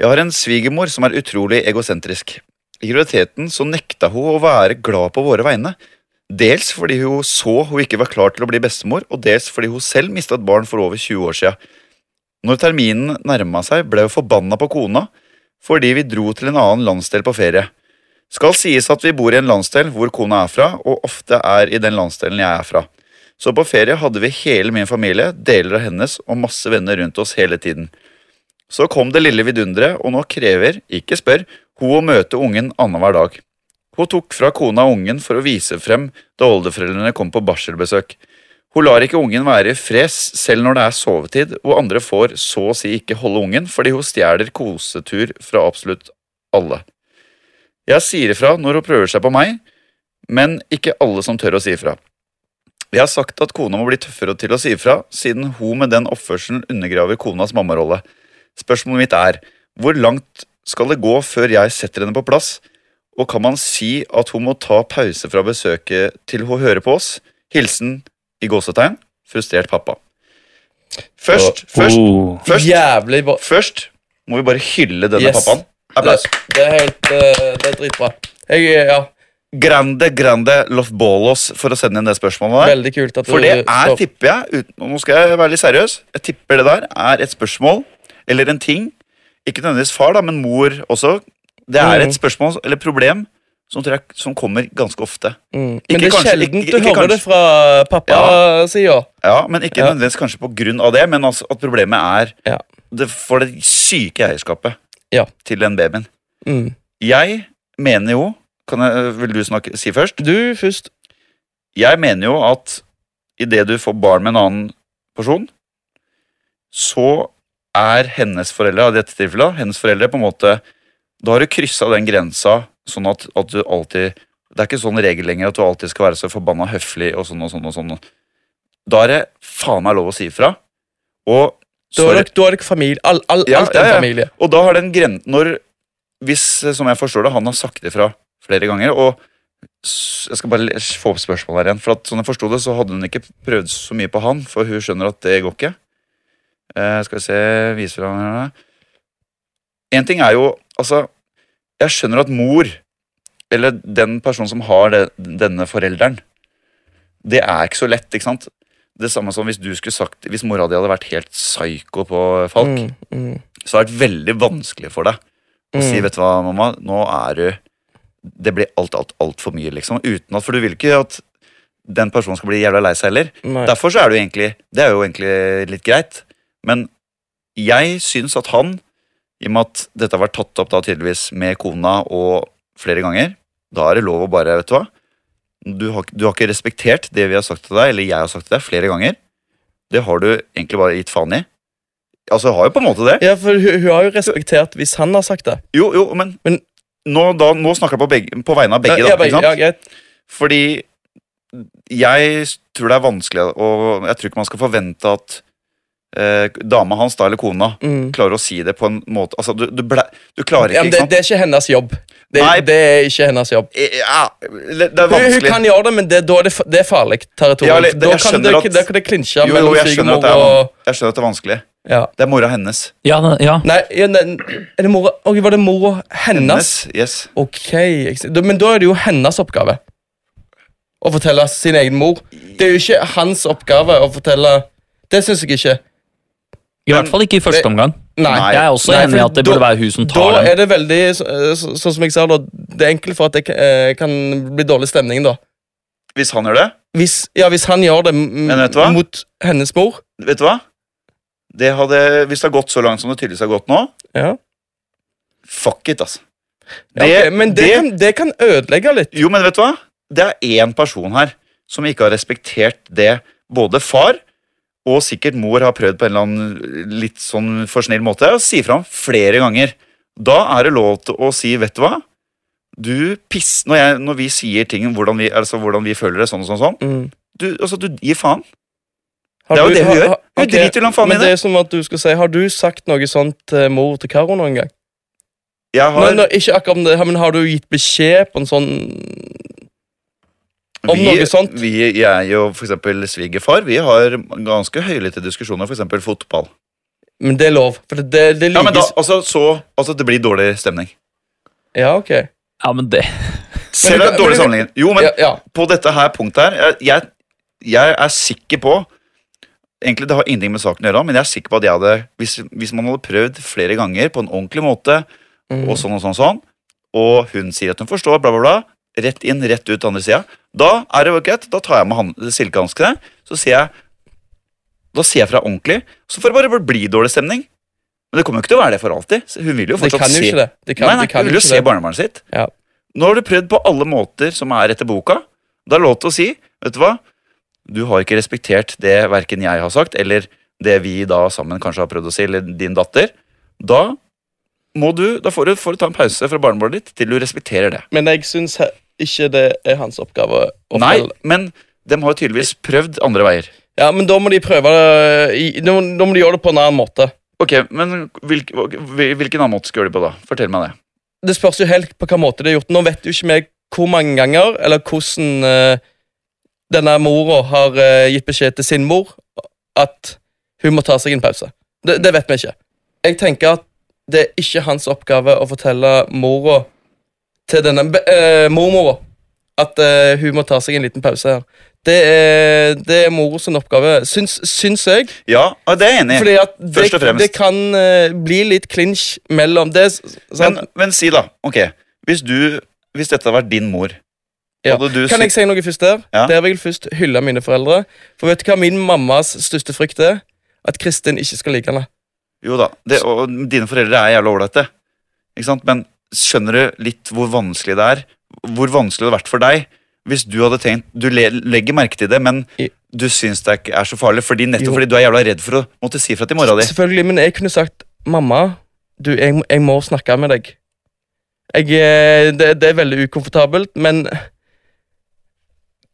[SPEAKER 1] Jeg har en svigermor som er utrolig egosentrisk. I graviditeten så nekta hun å være glad på våre vegne. Dels fordi hun så hun ikke var klar til å bli bestemor, og dels fordi hun selv mista et barn for over 20 år sia. Når terminen nærma seg, ble hun forbanna på kona fordi vi dro til en annen landsdel på ferie. Skal sies at vi bor i en landsdel hvor kona er fra, og ofte er i den landsdelen jeg er fra. Så på ferie hadde vi hele min familie, deler av hennes og masse venner rundt oss hele tiden. Så kom det lille vidunderet, og nå krever, ikke spør, hun å møte ungen annenhver dag. Hun tok fra kona og ungen for å vise frem da oldeforeldrene kom på barselbesøk. Hun lar ikke ungen være i fres selv når det er sovetid, og andre får så å si ikke holde ungen fordi hun stjeler kosetur fra absolutt alle. Jeg sier ifra når hun prøver seg på meg, men ikke alle som tør å si ifra. Vi har sagt at kona må bli tøffere til å si ifra, siden hun med den oppførselen undergraver konas mammarolle. Spørsmålet mitt er, hvor langt skal det gå før jeg setter henne på plass, og kan man si at hun må ta pause fra besøket til hun hører på oss? Hilsen i gåsetegn, frustrert pappa. Først, først,
[SPEAKER 3] Oh.
[SPEAKER 1] først,
[SPEAKER 2] Jævlig bra.
[SPEAKER 1] først må vi bare hylle denne
[SPEAKER 2] Yes.
[SPEAKER 1] pappaen. Applaus.
[SPEAKER 2] Det, det er helt eh, Det er dritbra. Jeg, eh, ja.
[SPEAKER 1] grande, grande los bolos for å sende inn det spørsmålet der.
[SPEAKER 2] Veldig kult at du
[SPEAKER 1] For det er,
[SPEAKER 2] står-
[SPEAKER 1] tipper jeg, uten, nå skal jeg være litt seriøs, jeg tipper det der er et spørsmål eller en ting, ikke nødvendigvis far da, men mor også, det er
[SPEAKER 2] Mhm.
[SPEAKER 1] et spørsmål eller problem som, tror jeg, som kommer ganske ofte.
[SPEAKER 2] mm. Men
[SPEAKER 1] ikke
[SPEAKER 2] det er
[SPEAKER 1] kanskje-
[SPEAKER 2] sjelden
[SPEAKER 1] ikke-
[SPEAKER 2] du
[SPEAKER 1] ikke
[SPEAKER 2] hører
[SPEAKER 1] kanskje.
[SPEAKER 2] det fra pappasida.
[SPEAKER 1] Ja, men ikke
[SPEAKER 2] Ja.
[SPEAKER 1] nødvendigvis kanskje på grunn av det, men altså at problemet er
[SPEAKER 2] Ja.
[SPEAKER 1] det, for det syke eierskapet
[SPEAKER 2] Ja.
[SPEAKER 1] til den babyen.
[SPEAKER 2] Mm.
[SPEAKER 1] Jeg mener jo, kan jeg, vil du snakke, si først?
[SPEAKER 2] Du først.
[SPEAKER 1] Jeg mener jo at idet du får barn med en annen person, så er hennes foreldre, i dette tilfellet, hennes foreldre på en måte Da har du kryssa den grensa, sånn at, at du alltid Det er ikke sånn regel lenger at du alltid skal være så forbanna høflig og sånn og sånn og sånn. Da er det faen meg lov å si ifra. Og
[SPEAKER 2] Da er
[SPEAKER 1] sorry.
[SPEAKER 2] dere, da er dere familie. All, all,
[SPEAKER 1] Ja,
[SPEAKER 2] alt er
[SPEAKER 1] ja, ja.
[SPEAKER 2] familie.
[SPEAKER 1] Og da har den gren... Når, hvis, eh, som jeg forstår det, han har sagt ifra flere ganger, og s- jeg skal bare le- få opp spørsmålet her igjen, for at sånn jeg forstod det, så hadde hun ikke prøvd så mye på han, for hun skjønner at det går ikke. Eh, skal vi se, viser han her da. En ting er jo, altså, jeg skjønner at mor, eller den personen som har det, denne forelderen, det er ikke så lett, ikke sant? Det samme som hvis du skulle sagt, hvis mora di hadde vært helt psyko på Falk,
[SPEAKER 2] Mm, mm,
[SPEAKER 1] så har det vært veldig vanskelig for deg å si
[SPEAKER 2] mm.
[SPEAKER 1] vet du hva, mamma, nå er du Det blir alt, alt, altfor mye, liksom. Uten at, For du vil ikke at den personen skal bli jævla lei seg heller.
[SPEAKER 2] Nei.
[SPEAKER 1] Derfor så er det jo egentlig Det er jo egentlig litt greit. Men jeg syns at han, i og med at dette har vært tatt opp da tydeligvis med kona og flere ganger, da er det lov å bare, vet du hva Du har, ikke- du har ikke respektert det vi har sagt til deg, eller jeg har sagt til deg, flere ganger. Det har du egentlig bare gitt faen i. Altså, jeg har jo på en måte det.
[SPEAKER 2] Ja, for hun, hun har jo respektert hvis han har sagt det.
[SPEAKER 1] Jo, jo, men,
[SPEAKER 2] Men-
[SPEAKER 1] nå, da, nå snakker jeg på, begge, på vegne av begge,
[SPEAKER 2] ja,
[SPEAKER 1] da, ikke sant?
[SPEAKER 2] ja, greit.
[SPEAKER 1] Fordi jeg tror det er vanskelig, og jeg tror ikke man skal forvente at eh, dama hans da, eller kona
[SPEAKER 2] Mm.
[SPEAKER 1] klarer å si det på en måte Altså, du, du, ble, du klarer
[SPEAKER 2] Ja,
[SPEAKER 1] ikke, ikke
[SPEAKER 2] men det,
[SPEAKER 1] sant?
[SPEAKER 2] det er ikke hennes jobb. Det,
[SPEAKER 1] Nei.
[SPEAKER 2] det er ikke hennes jobb.
[SPEAKER 1] Eh, Ja, det, det er
[SPEAKER 2] Hun, hun
[SPEAKER 1] vanskelig.
[SPEAKER 2] kan gjøre det, men det, da er det, fa- det er farlig territorium.
[SPEAKER 1] Ja, eller-
[SPEAKER 2] da
[SPEAKER 1] jeg
[SPEAKER 2] kan
[SPEAKER 1] skjønner
[SPEAKER 2] det,
[SPEAKER 1] at-
[SPEAKER 2] da kan det klinsje
[SPEAKER 1] Jo, jo,
[SPEAKER 2] mellom
[SPEAKER 1] jeg skjønner, at det
[SPEAKER 2] svigermor
[SPEAKER 1] er,
[SPEAKER 2] og
[SPEAKER 1] van- jeg skjønner at det er vanskelig.
[SPEAKER 2] ja.
[SPEAKER 1] Det er mora hennes.
[SPEAKER 3] Ja, ja.
[SPEAKER 2] Nei, ja, nei, er det mora Ok, var det mora hennes?
[SPEAKER 1] Yes.
[SPEAKER 2] Ok, jeg ser- da- Men da er det jo hennes oppgave å fortelle sin egen mor. Det er jo ikke hans oppgave å fortelle Det syns jeg ikke.
[SPEAKER 3] I hvert fall ikke i første
[SPEAKER 2] det-
[SPEAKER 3] omgang.
[SPEAKER 2] Nei.
[SPEAKER 1] Nei.
[SPEAKER 3] Jeg er også
[SPEAKER 2] Nei, for
[SPEAKER 3] enig i at det burde
[SPEAKER 2] da-
[SPEAKER 3] være hun som
[SPEAKER 2] Da
[SPEAKER 3] tar den.
[SPEAKER 2] er det veldig så- så- Sånn som jeg sa, da. Det er enkelt for at det kan- eh, kan bli dårlig stemning, da.
[SPEAKER 1] Hvis han gjør det,
[SPEAKER 2] Hvis, ja, hvis han gjør det m-
[SPEAKER 1] Men vet du hva?
[SPEAKER 2] mot hennes mor
[SPEAKER 1] vet du hva? Det hadde, hvis det har gått så langt som det tydeligvis har gått nå,
[SPEAKER 2] ja.
[SPEAKER 1] fuck it, altså.
[SPEAKER 2] Ja, ok, Men det, kan, det kan ødelegge litt.
[SPEAKER 1] Jo, men vet du hva? Det er én person her som ikke har respektert det både far og sikkert mor har prøvd på en eller annen litt sånn for snill måte å si fra om flere ganger. Da er det lov til å si 'vet du hva', du piss... Når, jeg, når vi sier ting om hvordan vi, altså, hvordan vi føler det, sånn og sånn, sånn
[SPEAKER 2] Mm.
[SPEAKER 1] du, altså, du gir faen.
[SPEAKER 2] Har
[SPEAKER 1] Det er jo
[SPEAKER 2] du-
[SPEAKER 1] det hun
[SPEAKER 2] har-
[SPEAKER 1] gjør.
[SPEAKER 2] har-
[SPEAKER 1] Hun
[SPEAKER 2] ok,
[SPEAKER 1] driter jo langt faen i
[SPEAKER 2] men
[SPEAKER 1] det.
[SPEAKER 2] det. er som at du skal si Har du sagt noe sånt til mor til Karo noen gang?
[SPEAKER 1] Jeg har,
[SPEAKER 2] Nei, nei, ikke akkurat om det, men har du gitt beskjed på en sånn om
[SPEAKER 1] vi,
[SPEAKER 2] noe sånt.
[SPEAKER 1] Vi, jeg og for eksempel svigerfar, vi har ganske høylytte diskusjoner, for eksempel fotball.
[SPEAKER 2] Men det er lov. For det, det, det
[SPEAKER 1] Ja, men da,
[SPEAKER 2] likes-
[SPEAKER 1] altså, så, altså, det blir dårlig stemning.
[SPEAKER 2] Ja, ok.
[SPEAKER 3] Ja, men det,
[SPEAKER 1] Selv om det er dårlig
[SPEAKER 2] men-
[SPEAKER 1] sammenligning. Jo, men
[SPEAKER 2] ja, ja.
[SPEAKER 1] på dette her punktet her jeg, jeg, jeg er sikker på Egentlig det har ingenting med saken å gjøre, men jeg er sikker på at jeg hadde Hvis, hvis man hadde prøvd flere ganger på en ordentlig måte,
[SPEAKER 2] Mm.
[SPEAKER 1] og sånn og sånn, sånn og hun sier at hun forstår, bla, bla, bla Rett inn, rett ut andre sida. Da er det jo greit. Da tar jeg med han- silkehanskene, så sier jeg Da sier jeg fra ordentlig. Så får det bare bli dårlig stemning. Men det kommer jo ikke til å være det for alltid. Så hun vil jo
[SPEAKER 2] det
[SPEAKER 1] fortsatt
[SPEAKER 2] kan jo
[SPEAKER 1] se
[SPEAKER 2] ikke det. Det kan,
[SPEAKER 1] nei, nei,
[SPEAKER 2] det kan
[SPEAKER 1] du vil jo se
[SPEAKER 2] ikke det.
[SPEAKER 1] barnebarnet sitt.
[SPEAKER 2] Ja.
[SPEAKER 1] Nå har du prøvd på alle måter som er etter boka. Da er det lov til å si vet du hva, du har ikke respektert det verken jeg har sagt, eller det vi da sammen kanskje har prøvd å si, eller din datter. Da må du, da får du, får du ta en pause fra barnebarnet ditt til du respekterer det.
[SPEAKER 2] Men jeg syns he- ikke det er hans oppgave. å
[SPEAKER 1] Nei,
[SPEAKER 2] fortelle.
[SPEAKER 1] men de har jo tydeligvis prøvd andre veier.
[SPEAKER 2] Ja, Men da må de prøve det i, da, må- da må de gjøre det på en annen måte.
[SPEAKER 1] Ok, men hvilk, hvil- Hvilken annen måte skal gjøre det på, da? Fortell meg det.
[SPEAKER 2] Det spørs jo helt på hvilken måte det er gjort. Nå vet jo ikke vi hvor mange ganger, eller hvordan eh, denne mora har eh, gitt beskjed til sin mor at hun må ta seg en pause. Det, det vet vi ikke. Jeg tenker at det er ikke hans oppgave å fortelle mora til denne be- eh, mormora at eh, hun må ta seg en liten pause her. Det er, det er mor sin oppgave, syns, syns jeg.
[SPEAKER 1] Ja, og det er jeg enig i.
[SPEAKER 2] Fordi at
[SPEAKER 1] Først og
[SPEAKER 2] det,
[SPEAKER 1] fremst.
[SPEAKER 2] det kan eh, bli litt clinch mellom det s- sant?
[SPEAKER 1] Men, men si, da. Ok, hvis du Hvis dette hadde vært din mor
[SPEAKER 2] Ja.
[SPEAKER 1] Hadde du
[SPEAKER 2] Kan jeg si noe først der?
[SPEAKER 1] Ja.
[SPEAKER 2] Der vil jeg først hylle mine foreldre. For vet du hva min mammas største frykt er? At Kristin ikke skal like henne.
[SPEAKER 1] Jo da, det, og dine foreldre er jævla ålreite. Ikke sant? Men skjønner du litt hvor vanskelig det er? Hvor vanskelig det hadde vært for deg hvis du hadde tenkt Du le, legger merke til det, men
[SPEAKER 2] I-
[SPEAKER 1] du syns det ikke er så farlig, fordi, nettopp
[SPEAKER 2] Jo.
[SPEAKER 1] fordi du er jævla redd for å måtte si fra til mora di.
[SPEAKER 2] Selvfølgelig, men jeg kunne sagt Mamma, du, jeg, må- jeg må snakke med deg. Jeg, eh, det, det er veldig ukomfortabelt, men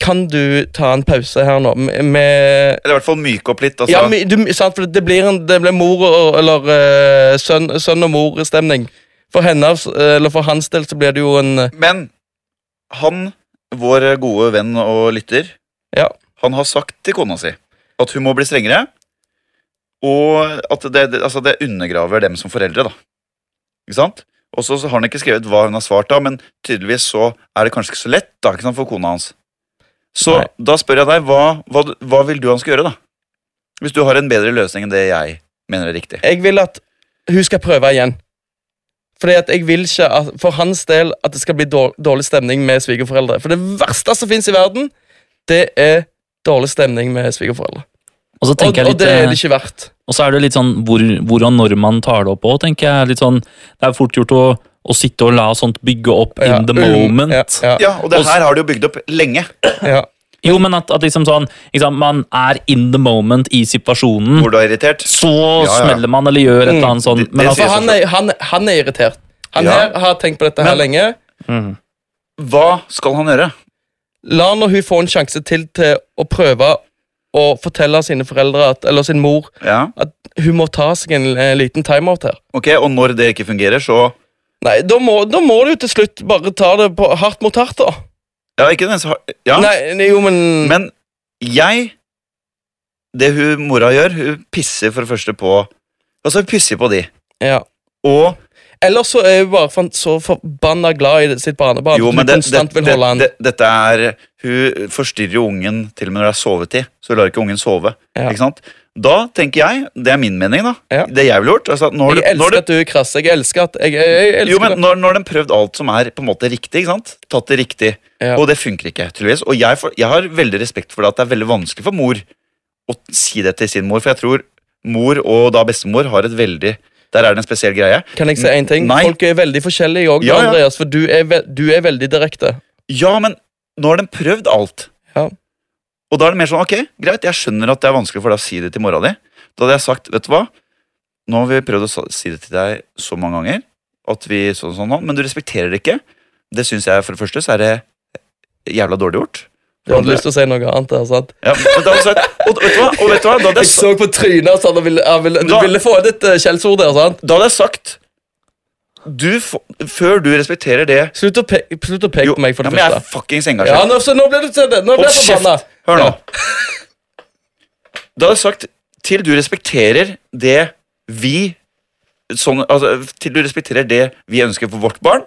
[SPEAKER 2] Kan du ta en pause her nå? Med, med
[SPEAKER 1] Eller i hvert fall myke opp litt. Altså.
[SPEAKER 2] ja, men du, sant, for det blir, en, det blir mor og, eller eh, sønn, sønn og mor-stemning. For hennes, eller for hans del så blir det jo en
[SPEAKER 1] men han, vår gode venn og lytter,
[SPEAKER 2] Ja.
[SPEAKER 1] han har sagt til kona si at hun må bli strengere, og at det, det, altså det undergraver dem som foreldre, da. Ikke sant? Og så så har han ikke skrevet hva hun har svart, da, men tydeligvis så er det kanskje ikke så lett da, ikke sant, for kona hans. Så
[SPEAKER 2] Nei.
[SPEAKER 1] da spør jeg deg, hva, hva, hva vil du han skal gjøre, da? Hvis du har en bedre løsning enn det jeg mener er riktig.
[SPEAKER 2] jeg vil at hun skal prøve igjen. Fordi at jeg vil ikke at, for hans del at det skal bli dår- dårlig stemning med svigerforeldre. For det verste som fins i verden, det er dårlig stemning med svigerforeldre.
[SPEAKER 3] Og så
[SPEAKER 2] Og,
[SPEAKER 3] tenker jeg
[SPEAKER 2] og det er det
[SPEAKER 3] litt,
[SPEAKER 2] ikke verdt.
[SPEAKER 3] eh, og så er det litt sånn hvor, hvor og når man tar det opp òg, tenker jeg. litt sånn, Det er fort gjort å, å sitte og la sånt bygge opp
[SPEAKER 2] Ja,
[SPEAKER 3] in the
[SPEAKER 2] um,
[SPEAKER 3] moment.
[SPEAKER 2] Ja, ja,
[SPEAKER 1] Ja, og det
[SPEAKER 3] Og s-
[SPEAKER 1] her har du jo bygd opp lenge.
[SPEAKER 2] ja.
[SPEAKER 3] Jo, men at, at liksom sånn, ikke sant, man er in the moment i situasjonen.
[SPEAKER 1] Hvor du er irritert.
[SPEAKER 3] Så
[SPEAKER 1] ja.
[SPEAKER 3] smeller man eller gjør et eller
[SPEAKER 2] Mm.
[SPEAKER 3] annet sånn.
[SPEAKER 1] Det- det
[SPEAKER 3] Men
[SPEAKER 1] sier
[SPEAKER 3] altså,
[SPEAKER 2] For han er, han, han er irritert. Han
[SPEAKER 1] Ja.
[SPEAKER 2] her har tenkt på dette her
[SPEAKER 1] Men-
[SPEAKER 2] lenge.
[SPEAKER 1] Hva skal han gjøre?
[SPEAKER 2] La nå hun få en sjanse til til å prøve å fortelle sine foreldre at, eller sin mor
[SPEAKER 1] Ja.
[SPEAKER 2] at hun må ta seg en eh, liten timeout her.
[SPEAKER 1] Ok, Og når det ikke fungerer, så
[SPEAKER 2] Nei, da må, da må du til slutt bare ta det på hardt mot hardt, da.
[SPEAKER 1] Ja, ikke den, så, ja.
[SPEAKER 2] Nei, nei, jo, men,
[SPEAKER 1] Men jeg Det hun mora gjør, hun pisser for det første på Altså, hun pisser på de.
[SPEAKER 2] ja.
[SPEAKER 1] Og
[SPEAKER 2] Ellers så er hun bare fan- så forbanna glad i det- sitt barnebarn
[SPEAKER 1] jo,
[SPEAKER 2] at
[SPEAKER 1] men
[SPEAKER 2] hun
[SPEAKER 1] det, det,
[SPEAKER 2] konstant vil
[SPEAKER 1] det,
[SPEAKER 2] holde han.
[SPEAKER 1] det, dette er Hun forstyrrer jo ungen til og med når det er sovetid. Så hun lar ikke ungen sove.
[SPEAKER 2] Ja.
[SPEAKER 1] Ikke sant? Da tenker jeg Det er min mening, da.
[SPEAKER 2] Ja.
[SPEAKER 1] Det jeg ville gjort. Altså, nå har
[SPEAKER 2] jeg
[SPEAKER 1] du- nå har
[SPEAKER 2] elsker
[SPEAKER 1] du-
[SPEAKER 2] at du er krass. Jeg elsker at jeg, jeg, jeg elsker
[SPEAKER 1] Jo, men
[SPEAKER 2] det.
[SPEAKER 1] når, når den prøvd alt som er på en måte riktig, ikke sant? tatt det riktig,
[SPEAKER 2] Ja.
[SPEAKER 1] og det funker ikke, tydeligvis. Og jeg, får- jeg har veldig respekt for det at det er veldig vanskelig for mor å si det til sin mor, for jeg tror mor og da bestemor har et veldig Der er det en spesiell greie.
[SPEAKER 2] Kan jeg si én ting?
[SPEAKER 1] Nei.
[SPEAKER 2] Folk er veldig forskjellige òg,
[SPEAKER 1] Ja, ja.
[SPEAKER 2] Andreas, for du er, ve du er veldig direkte.
[SPEAKER 1] Ja, men nå har den prøvd alt.
[SPEAKER 2] Ja.
[SPEAKER 1] Og da er det mer sånn, ok, greit, jeg skjønner at det er vanskelig for deg å si det til mora di. Da hadde jeg sagt, vet du hva, nå har vi prøvd å sa- si det til deg så mange ganger, at vi sånn og sånn, nå, men du respekterer det ikke. Det synes jeg, for det første, så er det jævla dårlig gjort.
[SPEAKER 2] Du hadde lyst til å si noe annet. der, sant?
[SPEAKER 1] Ja, men da hadde jeg sagt, og, vet du hva, og vet du hva, da hadde
[SPEAKER 2] Jeg
[SPEAKER 1] jeg, sa-
[SPEAKER 2] så på trynet hans at han ville, han ville, du
[SPEAKER 1] Da-
[SPEAKER 2] ville få ut et eh, skjellsord der. sant?
[SPEAKER 1] da hadde jeg sagt, du, f- før du respekterer det,
[SPEAKER 2] Slutt å, pe slutt å peke
[SPEAKER 1] jo,
[SPEAKER 2] på meg, for det
[SPEAKER 1] ja, men jeg er
[SPEAKER 2] første.
[SPEAKER 1] fuckings
[SPEAKER 2] Ja,
[SPEAKER 1] engasjert.
[SPEAKER 2] nå, så nå ble du til det. Nå
[SPEAKER 1] Hold
[SPEAKER 2] ble jeg forbanna.
[SPEAKER 1] kjeft! Hør nå. Da hadde jeg sagt til du respekterer det vi sånn, altså, Til du respekterer det vi ønsker for vårt barn,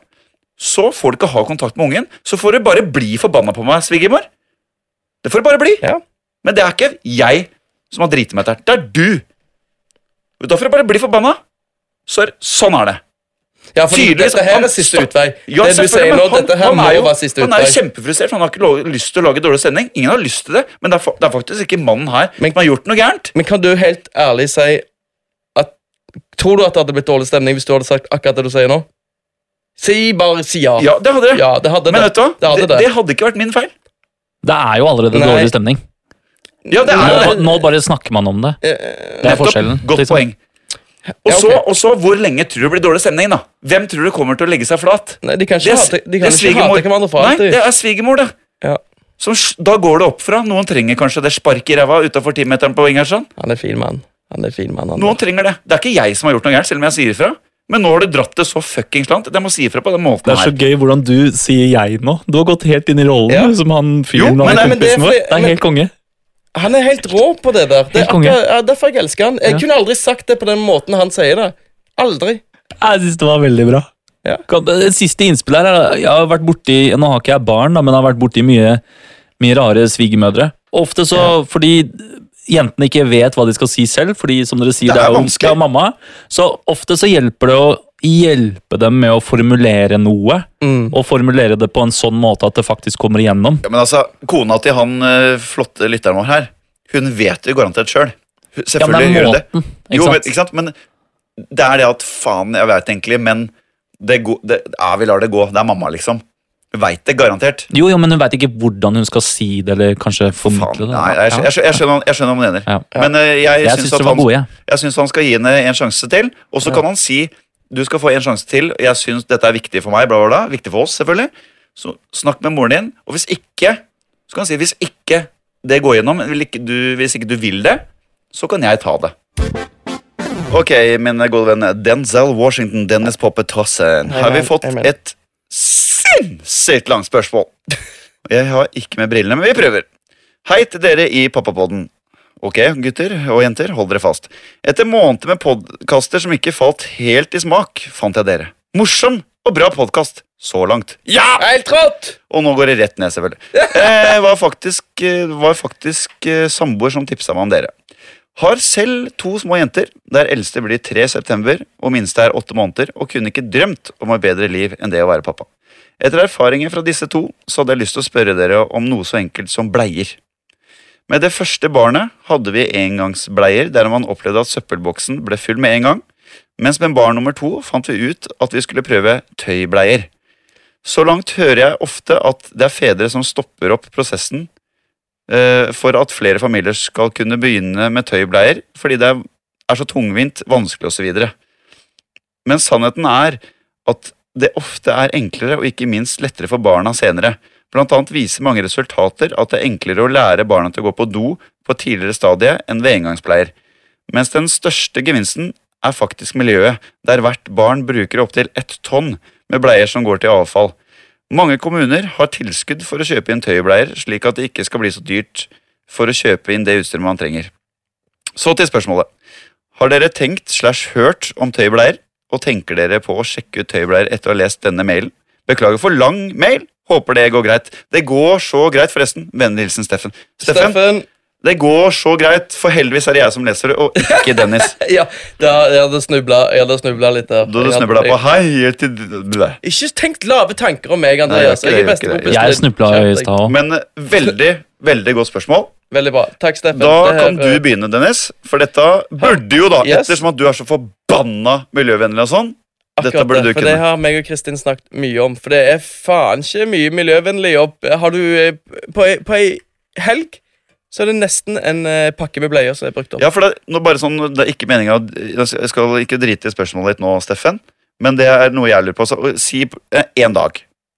[SPEAKER 1] så får du ikke ha kontakt med ungen. Så får du bare bli forbanna på meg, svigermor. Det får du bare bli.
[SPEAKER 2] Ja.
[SPEAKER 1] Men det er ikke jeg som har driti meg ut her. Det er du. Da får du bare bli forbanna. Så er, sånn er det.
[SPEAKER 2] Ja, for
[SPEAKER 1] Tydeligvis,
[SPEAKER 2] dette her
[SPEAKER 1] han
[SPEAKER 2] er siste
[SPEAKER 1] stakk-
[SPEAKER 2] utvei.
[SPEAKER 1] Ja,
[SPEAKER 2] det du
[SPEAKER 1] selvfølgelig,
[SPEAKER 2] sier
[SPEAKER 1] men
[SPEAKER 2] nå,
[SPEAKER 1] han-
[SPEAKER 2] dette her
[SPEAKER 1] han
[SPEAKER 2] må
[SPEAKER 1] er jo-
[SPEAKER 2] være siste
[SPEAKER 1] Han er jo
[SPEAKER 2] utvei.
[SPEAKER 1] kjempefrustrert, for han har ikke lov, lyst til å lage dårlig sending. Ingen har lyst til det, men det er, fa- det er faktisk ikke mannen her
[SPEAKER 2] Men-
[SPEAKER 1] som har gjort noe gærent.
[SPEAKER 2] Men kan du helt ærlig si at Tror du at det hadde blitt dårlig stemning hvis du hadde sagt akkurat det du sier nå? Si bare si ja.
[SPEAKER 1] Ja, det hadde det.
[SPEAKER 2] Ja, det hadde
[SPEAKER 1] men vet
[SPEAKER 2] det.
[SPEAKER 1] du hva?
[SPEAKER 2] Det hadde
[SPEAKER 1] det,
[SPEAKER 2] det.
[SPEAKER 1] det hadde ikke vært min feil.
[SPEAKER 3] det er jo allerede
[SPEAKER 2] Nei.
[SPEAKER 3] dårlig stemning.
[SPEAKER 1] Ja, det er
[SPEAKER 3] Nå,
[SPEAKER 2] Nei,
[SPEAKER 1] jo
[SPEAKER 3] ba- nå bare snakker man om det.
[SPEAKER 2] Eh,
[SPEAKER 3] Det er
[SPEAKER 1] nettopp.
[SPEAKER 3] forskjellen.
[SPEAKER 1] Godt
[SPEAKER 3] liksom.
[SPEAKER 1] poeng. Og
[SPEAKER 2] Ja, ok.
[SPEAKER 1] så, og så, hvor lenge tror du det blir dårlig stemning, da? Hvem tror du kommer til å legge seg flat?
[SPEAKER 2] Nei, de kan
[SPEAKER 1] Det
[SPEAKER 2] ikke
[SPEAKER 1] er, s-
[SPEAKER 2] hate, de
[SPEAKER 1] det
[SPEAKER 2] kan
[SPEAKER 1] er
[SPEAKER 2] ikke hate hverandre for
[SPEAKER 1] Nei,
[SPEAKER 2] alltid.
[SPEAKER 1] det er svigermor, det.
[SPEAKER 2] Ja,
[SPEAKER 1] Som, s- da går det opp fra. Noen trenger kanskje det sparket i ræva utafor timeteren på sånn. Ingersen.
[SPEAKER 2] han er fin mann. Han er fin mann, han.
[SPEAKER 1] Noen trenger det. Det er ikke jeg som har gjort noe gærent, selv om jeg sier ifra. Men nå har du dratt det så fuckings langt. Jeg må si ifra på den måten
[SPEAKER 3] Det er
[SPEAKER 1] her.
[SPEAKER 3] så gøy hvordan du sier jeg nå. Du har gått helt inn i rollen
[SPEAKER 2] Ja.
[SPEAKER 3] du, som han
[SPEAKER 1] Jo,
[SPEAKER 3] fyren og
[SPEAKER 1] men- nei,
[SPEAKER 3] han
[SPEAKER 1] men
[SPEAKER 2] det er
[SPEAKER 3] kompisen vår.
[SPEAKER 2] fordi-
[SPEAKER 3] Det er
[SPEAKER 2] men-
[SPEAKER 3] helt konge.
[SPEAKER 2] Han er helt rå på det der. Det er
[SPEAKER 3] Helt konge.
[SPEAKER 2] akkurat, ja, derfor jeg elsker han. Jeg
[SPEAKER 3] Ja.
[SPEAKER 2] kunne aldri sagt det på den måten han sier det. Aldri.
[SPEAKER 3] Jeg syns det var veldig bra. Kan- eh, Siste innspill her er Jeg har vært borti Nå har ikke jeg barn, da, men jeg har vært borti mye, mye rare svigermødre. Ofte så fordi jentene ikke vet hva de skal si selv, fordi som dere sier,
[SPEAKER 1] Det
[SPEAKER 3] det
[SPEAKER 1] er
[SPEAKER 3] er, jo
[SPEAKER 1] vanskelig.
[SPEAKER 3] ja, mamma. Så ofte så hjelper det å hjelpe dem med å formulere noe,
[SPEAKER 2] Mm.
[SPEAKER 3] og formulere det på en sånn måte at det faktisk kommer igjennom.
[SPEAKER 1] Ja, men altså, Kona til han eh, flotte lytteren vår her, hun vet det garantert sjøl.
[SPEAKER 3] Ja, men det
[SPEAKER 1] Selvfølgelig
[SPEAKER 3] er
[SPEAKER 1] gjør hun det.
[SPEAKER 3] måten,
[SPEAKER 1] Jo,
[SPEAKER 3] ikke
[SPEAKER 1] men,
[SPEAKER 3] sant?
[SPEAKER 1] ikke sant? Men det er det at faen, jeg veit egentlig, men det, go- det, ja, vi lar det gå. Det er mamma, liksom. Veit det garantert.
[SPEAKER 3] Jo, jo, men hun veit ikke hvordan hun skal si det, eller kanskje
[SPEAKER 1] Faen,
[SPEAKER 3] formidle det.
[SPEAKER 1] nei, jeg, jeg, jeg, skjønner, jeg skjønner hva han mener.
[SPEAKER 3] Ja.
[SPEAKER 1] Men eh, jeg,
[SPEAKER 3] Jeg
[SPEAKER 1] syns
[SPEAKER 3] syns
[SPEAKER 1] at
[SPEAKER 3] det var
[SPEAKER 1] han,
[SPEAKER 3] gode, jeg.
[SPEAKER 1] jeg syns han skal gi henne en sjanse til, og så kan han si du skal få en sjanse til, jeg syns dette er viktig for meg, bla, bla, bla. Viktig for oss, selvfølgelig. Så snakk med moren din, og hvis ikke, så kan han si hvis ikke det går gjennom, vil ikke du, hvis ikke du vil det, så kan jeg ta det. Ok, mine gode venner. Denzel Washington, Dennis Poppetossen. Har vi
[SPEAKER 2] Amen,
[SPEAKER 1] fått
[SPEAKER 2] amen.
[SPEAKER 1] et sinnssykt langt spørsmål? Jeg har ikke med brillene, men vi prøver. Hei til dere i Pappapodden. Ok, gutter og jenter, hold dere fast. Etter måneder med podkaster som ikke falt helt i smak, fant jeg dere. Morsom og bra podkast så langt.
[SPEAKER 2] Ja! Helt rått!
[SPEAKER 1] Og nå går det rett ned, selvfølgelig. Eh, var faktisk, eh, var faktisk eh, samboer som tipsa meg om dere. Har selv to små jenter, der eldste blir tre september og minste er åtte måneder, og kunne ikke drømt om et bedre liv enn det å være pappa. Etter erfaringer fra disse to så hadde jeg lyst til å spørre dere om noe så enkelt som bleier. Med det første barnet hadde vi engangsbleier der man opplevde at søppelboksen ble full med en gang, mens med barn nummer to fant vi ut at vi skulle prøve tøybleier. Så langt hører jeg ofte at det er fedre som stopper opp prosessen eh, for at flere familier skal kunne begynne med tøybleier, fordi det er- er så tungvint, vanskelig osv. Men sannheten er at det ofte er enklere og ikke minst lettere for barna senere. Blant annet viser mange resultater at det er enklere å lære barna til å gå på do på et tidligere stadie enn ved engangsbleier. Mens den største gevinsten er faktisk miljøet, der hvert barn bruker opptil ett tonn med bleier som går til avfall. Mange kommuner har tilskudd for å kjøpe inn tøybleier, slik at det ikke skal bli så dyrt for å kjøpe inn det utstyret man trenger. Så til spørsmålet. Har dere tenkt slash hørt om tøybleier, og tenker dere på å sjekke ut tøybleier etter å ha lest denne mailen? Beklager for lang mail, håper det går greit. Det går så greit, forresten. Vennlig hilsen Steffen. Steffen,
[SPEAKER 2] Steffen.
[SPEAKER 1] det går så greit, for heldigvis er det jeg som leser det, og ikke Dennis.
[SPEAKER 2] Ja, da, jeg hadde snubla, jeg hadde snubla litt der.
[SPEAKER 1] Da du
[SPEAKER 2] Jeg hadde-
[SPEAKER 1] snubla på hei til blæ.
[SPEAKER 2] Ikke tenk lave tanker om meg,
[SPEAKER 1] Nei, jeg
[SPEAKER 2] Andreas.
[SPEAKER 1] gjør ikke
[SPEAKER 2] jeg
[SPEAKER 1] det,
[SPEAKER 2] er
[SPEAKER 1] jeg gjør ikke det.
[SPEAKER 2] bestekompisen
[SPEAKER 3] Jeg
[SPEAKER 2] din.
[SPEAKER 3] snubla i
[SPEAKER 2] Kjempe-
[SPEAKER 3] stad òg.
[SPEAKER 1] Men eh, veldig, veldig godt spørsmål.
[SPEAKER 2] Veldig bra. Takk, Steffen.
[SPEAKER 1] Da
[SPEAKER 2] Det her,
[SPEAKER 1] kan du
[SPEAKER 2] eh,
[SPEAKER 1] begynne, Dennis. For dette burde jo, da,
[SPEAKER 2] Yes.
[SPEAKER 1] ettersom at du er så forbanna miljøvennlig og sånn Dette
[SPEAKER 2] akkurat
[SPEAKER 1] burde du
[SPEAKER 2] det, for Det
[SPEAKER 1] kunne.
[SPEAKER 2] har meg og Kristin snakket mye om, for det er faen ikke mye miljøvennlig jobb. Har du eh, På, ei- på ei helg så er det nesten en eh, pakke med bleier som er brukt opp.
[SPEAKER 1] Ja, for det, nå bare sånn, det er ikke meninga Jeg skal ikke drite i spørsmålet ditt nå, Steffen, men det er noe jeg lurer på. Så, si én dag.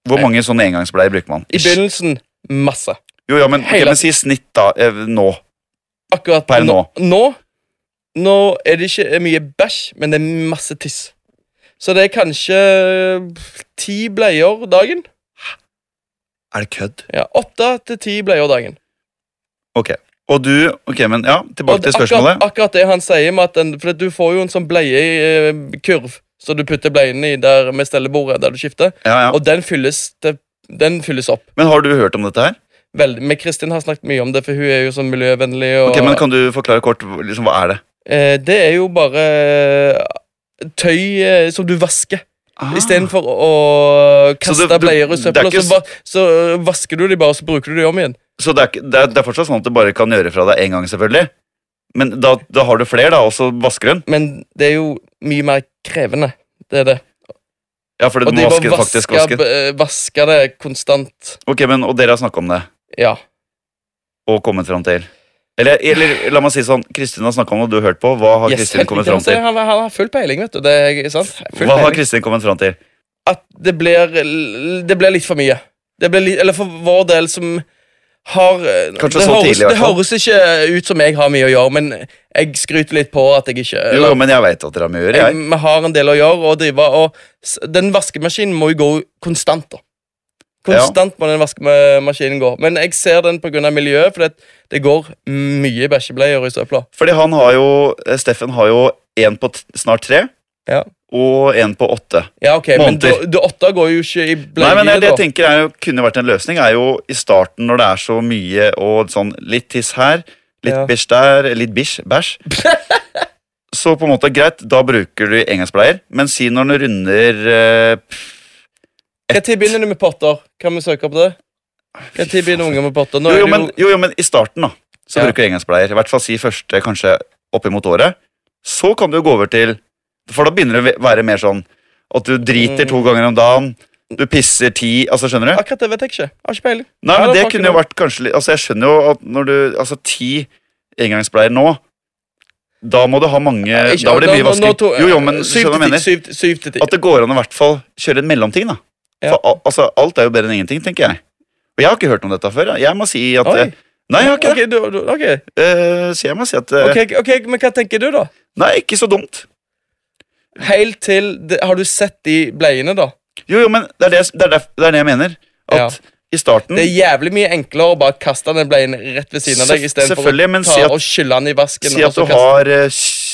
[SPEAKER 1] Hvor mange sånne engangsbleier bruker man?
[SPEAKER 2] I begynnelsen masse.
[SPEAKER 1] Jo, ja, men, ok,
[SPEAKER 2] Hele-
[SPEAKER 1] men si snitt, da. eh, Nå.
[SPEAKER 2] Akkurat
[SPEAKER 1] Per nå.
[SPEAKER 2] nå. Nå er det ikke mye bæsj, men det er masse tiss. Så det er kanskje eh, ti bleier dagen.
[SPEAKER 1] Er det kødd?
[SPEAKER 2] Ja, Åtte til ti bleier dagen.
[SPEAKER 1] Ok. Og du Ok, men ja, tilbake
[SPEAKER 2] Og
[SPEAKER 1] til spørsmålet.
[SPEAKER 2] akkurat, akkurat det han sier med at den, For du får jo en sånn bleiekurv Så du putter bleien i der med stellebordet Der du skifter
[SPEAKER 1] Ja, ja.
[SPEAKER 2] Og den fylles, det, den fylles opp
[SPEAKER 1] Men har du hørt om dette her?
[SPEAKER 2] Veldig, Men Kristin har snakket mye om det For hun er jo sånn miljøvennlig og,
[SPEAKER 1] Ok, men Kan du forklare kort liksom, hva er det
[SPEAKER 2] eh, Det er jo bare Tøy eh, som du vasker
[SPEAKER 1] Ah.
[SPEAKER 2] I stedet for å kaste
[SPEAKER 1] Så det- du-
[SPEAKER 2] bleier i
[SPEAKER 1] det er
[SPEAKER 2] søppel og
[SPEAKER 1] ikke
[SPEAKER 2] så, va- så vasker du de bare Og så bruker du de om igjen
[SPEAKER 1] Så det er, ikke- det, er, det er fortsatt sånn at du bare kan gjøre fra deg én gang, selvfølgelig. Men da, da har du flere, da, og så vasker hun.
[SPEAKER 2] Men det er jo mye mer krevende Det er det
[SPEAKER 1] Ja, for du
[SPEAKER 2] Og de
[SPEAKER 1] må
[SPEAKER 2] bare
[SPEAKER 1] vaske det faktisk. Vaske.
[SPEAKER 2] vasker, b- vasker det konstant
[SPEAKER 1] Ok, men, Og dere har snakka om det
[SPEAKER 2] Ja.
[SPEAKER 1] og kommet fram til eller, eller la meg si sånn, Kristin har snakka om det, og du har hørt på. Hva har
[SPEAKER 2] Yes,
[SPEAKER 1] Kristin
[SPEAKER 2] helt
[SPEAKER 1] kommet
[SPEAKER 2] riktig.
[SPEAKER 1] fram til?
[SPEAKER 2] Han, han har full peiling, vet du. Det er sant. Full
[SPEAKER 1] Hva har
[SPEAKER 2] peiling.
[SPEAKER 1] Kristin kommet fram til?
[SPEAKER 2] At det blir, l- det blir litt for mye. Det blir litt, eller for vår del som har eh,
[SPEAKER 1] Kanskje
[SPEAKER 2] det
[SPEAKER 1] så
[SPEAKER 2] høres,
[SPEAKER 1] tidlig, i hvert
[SPEAKER 2] Det
[SPEAKER 1] fall.
[SPEAKER 2] høres ikke ut som jeg har mye å gjøre, men jeg skryter litt på at jeg ikke
[SPEAKER 1] Jo, men jeg veit at dere har mye å gjøre.
[SPEAKER 2] Eh, jeg,
[SPEAKER 1] jeg.
[SPEAKER 2] Vi har en del å gjøre, og, drive, og s- den vaskemaskinen må jo gå konstant. da Konstant må den vaskemaskinen gå. Men jeg ser den pga. miljøet, for det, det går mye bæsjebleier i søpla.
[SPEAKER 1] Fordi han har jo, eh, Steffen har jo én på t snart tre,
[SPEAKER 2] Ja.
[SPEAKER 1] og en på åtte.
[SPEAKER 2] Ja, ok, men
[SPEAKER 1] Måneder.
[SPEAKER 2] da- da åtte går jo ikke i
[SPEAKER 1] Nei, men det,
[SPEAKER 2] bleier,
[SPEAKER 1] det
[SPEAKER 2] da.
[SPEAKER 1] jeg tenker er jo, kunne vært en løsning, er jo i starten når det er så mye og sånn litt tiss her, litt
[SPEAKER 2] Ja.
[SPEAKER 1] bæsj der, litt bish, bæsj. så på en måte greit, da bruker du engangsbleier, men si når den runder eh,
[SPEAKER 2] Hva tid begynner du med potter? Kan vi søke på det? Hva tid begynner unger med potter? Nå
[SPEAKER 1] jo,
[SPEAKER 2] er
[SPEAKER 1] jo,
[SPEAKER 2] det
[SPEAKER 1] men, jo, jo, men i starten, da, så
[SPEAKER 2] Ja.
[SPEAKER 1] bruker du engangsbleier. I hvert fall si første kanskje oppimot året. Så kan du jo gå over til For da begynner det å være mer sånn at du driter
[SPEAKER 2] Mm.
[SPEAKER 1] to ganger om dagen, du pisser ti Altså, skjønner du?
[SPEAKER 2] Akkurat det vet jeg ikke. Har ikke peiling.
[SPEAKER 1] Nei,
[SPEAKER 2] Ja,
[SPEAKER 1] men
[SPEAKER 2] det
[SPEAKER 1] det
[SPEAKER 2] var ikke
[SPEAKER 1] kunne jo
[SPEAKER 2] noe.
[SPEAKER 1] vært kanskje litt Altså, jeg skjønner jo at når du Altså, ti engangsbleier nå Da må du ha mange
[SPEAKER 2] Ikke-
[SPEAKER 1] Eh, Da blir det
[SPEAKER 2] nå-
[SPEAKER 1] mye
[SPEAKER 2] nå- nå
[SPEAKER 1] vasking.
[SPEAKER 2] to-
[SPEAKER 1] Jo, jo, men du
[SPEAKER 2] syv
[SPEAKER 1] skjønner hva jeg
[SPEAKER 2] til ti-
[SPEAKER 1] mener.
[SPEAKER 2] syv til- Syv til ti.
[SPEAKER 1] At det går an å i hvert fall kjøre en mellomting, da.
[SPEAKER 2] Ja.
[SPEAKER 1] For al- altså, alt er jo bedre enn ingenting, tenker jeg. Og jeg har ikke hørt om dette før. da. Jeg må si at
[SPEAKER 2] Oi.
[SPEAKER 1] eh, Nei, jeg har ikke det.
[SPEAKER 2] Ok, du, du, ok.
[SPEAKER 1] Eh, så jeg må si at eh,
[SPEAKER 2] Ok, ok, men hva tenker du, da?
[SPEAKER 1] Nei, ikke så dumt.
[SPEAKER 2] Helt til det, Har du sett de bleiene, da?
[SPEAKER 1] Jo, jo, men det er det, det, er derf- det, er det jeg mener. At
[SPEAKER 2] Ja.
[SPEAKER 1] i starten
[SPEAKER 2] Det er jævlig mye enklere å bare kaste den bleien rett ved siden av deg
[SPEAKER 1] Sef-
[SPEAKER 2] istedenfor
[SPEAKER 1] selvfølgelig,
[SPEAKER 2] å
[SPEAKER 1] men
[SPEAKER 2] ta
[SPEAKER 1] si at-
[SPEAKER 2] og skylle den i vasken.
[SPEAKER 1] Si
[SPEAKER 2] og
[SPEAKER 1] at du
[SPEAKER 2] så kaste-
[SPEAKER 1] har eh,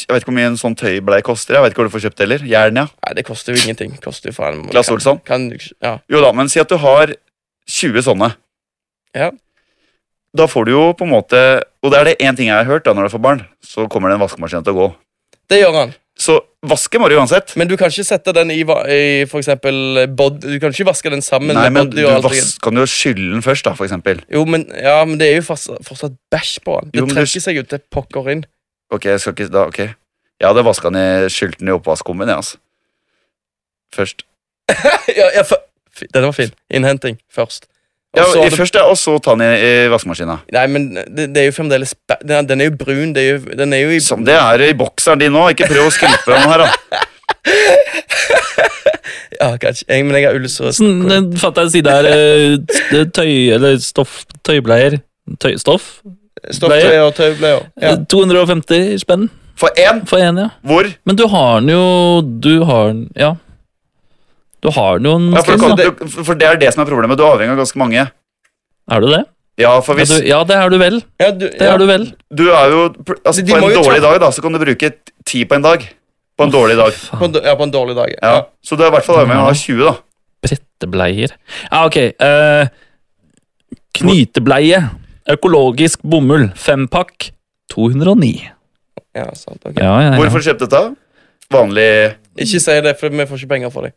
[SPEAKER 1] Jeg vet ikke hvor mye en sånn tøybleie koster. Jeg vet ikke hvor du får kjøpt det heller. Jern, ja.
[SPEAKER 2] Nei, det koster jo ingenting. Koster jo faen
[SPEAKER 1] Klass Olsson?
[SPEAKER 2] Kan, kan, ja.
[SPEAKER 1] Jo da, men si at du har 20 sånne.
[SPEAKER 2] Ja.
[SPEAKER 1] Da får du jo på en måte Og det er det én ting jeg har hørt da når du får barn, så kommer det en vaskemaskin til å gå.
[SPEAKER 2] Det gjør han.
[SPEAKER 1] Så vaske må du uansett.
[SPEAKER 2] Men du kan ikke sette den i, va- i for eksempel bod, Du kan ikke vaske den sammen
[SPEAKER 1] Nei,
[SPEAKER 2] med
[SPEAKER 1] men du
[SPEAKER 2] body og alt. det-
[SPEAKER 1] vas kan jo skylle den først, da, for eksempel.
[SPEAKER 2] Jo, men, ja, men det er jo fast, fortsatt bæsj på den. Det
[SPEAKER 1] Jo, men du-
[SPEAKER 2] trekker seg ut til pokker inn.
[SPEAKER 1] Ok, jeg skal ikke da, ok Jeg hadde vaska den i skylt den i oppvaskkummen, jeg, altså. Først.
[SPEAKER 2] ja, ja, for, fi- den var fin. Innhenting først. Og
[SPEAKER 1] Ja,
[SPEAKER 2] så
[SPEAKER 1] i
[SPEAKER 2] det-
[SPEAKER 1] først, ja, og så ta den i, i vaskemaskina.
[SPEAKER 2] Nei, men det, det er jo fremdeles bæ- Den er- den er jo brun. Det er jo, den er jo i
[SPEAKER 1] Som det er i bokseren din nå, ikke prøv å skrype den her, da.
[SPEAKER 2] Ja, kanskje. Jeg, men jeg har ulcerøs
[SPEAKER 3] Sånn, Fatter'n sier det er eh, t- tøy... Eller stoff... Tøybleier. Tøystoff.
[SPEAKER 2] Stoffbleier og tøybleier. Ja.
[SPEAKER 3] 250 spenn
[SPEAKER 1] For én!
[SPEAKER 3] for én, ja.
[SPEAKER 1] Hvor?
[SPEAKER 3] Men du har den jo Du har den Ja. Du har noen
[SPEAKER 1] Ja, for,
[SPEAKER 3] steder,
[SPEAKER 1] du kan,
[SPEAKER 3] da.
[SPEAKER 1] du, for det er det som er problemet. Du er avhengig av ganske mange.
[SPEAKER 3] Er du det?
[SPEAKER 1] Ja, for
[SPEAKER 3] Ja,
[SPEAKER 1] hvis
[SPEAKER 3] du, ja, det er du vel.
[SPEAKER 2] Ja, du,
[SPEAKER 3] Det
[SPEAKER 2] ja.
[SPEAKER 3] er du vel.
[SPEAKER 1] du er jo pl- altså,
[SPEAKER 2] De- de
[SPEAKER 1] På
[SPEAKER 2] må
[SPEAKER 1] en
[SPEAKER 2] jo
[SPEAKER 1] dårlig
[SPEAKER 2] ta-
[SPEAKER 1] dag da, så kan du bruke t- ti på en dag. På en dårlig dag.
[SPEAKER 2] På en,
[SPEAKER 3] Faen,
[SPEAKER 2] d- ja, på en dårlig dag.
[SPEAKER 1] Ja. Så du er i hvert fall avhengig av å ha
[SPEAKER 3] Ja.
[SPEAKER 1] 20, da.
[SPEAKER 3] brettebleier Ja, ok. eh, knytebleie. Økologisk bomull. Fempakk. 209.
[SPEAKER 2] ja. ja sant, ok.
[SPEAKER 3] Ja, ja, ja.
[SPEAKER 1] Hvorfor kjøpte du dette? Vanlig
[SPEAKER 2] Ikke si det, for vi får ikke penger for det.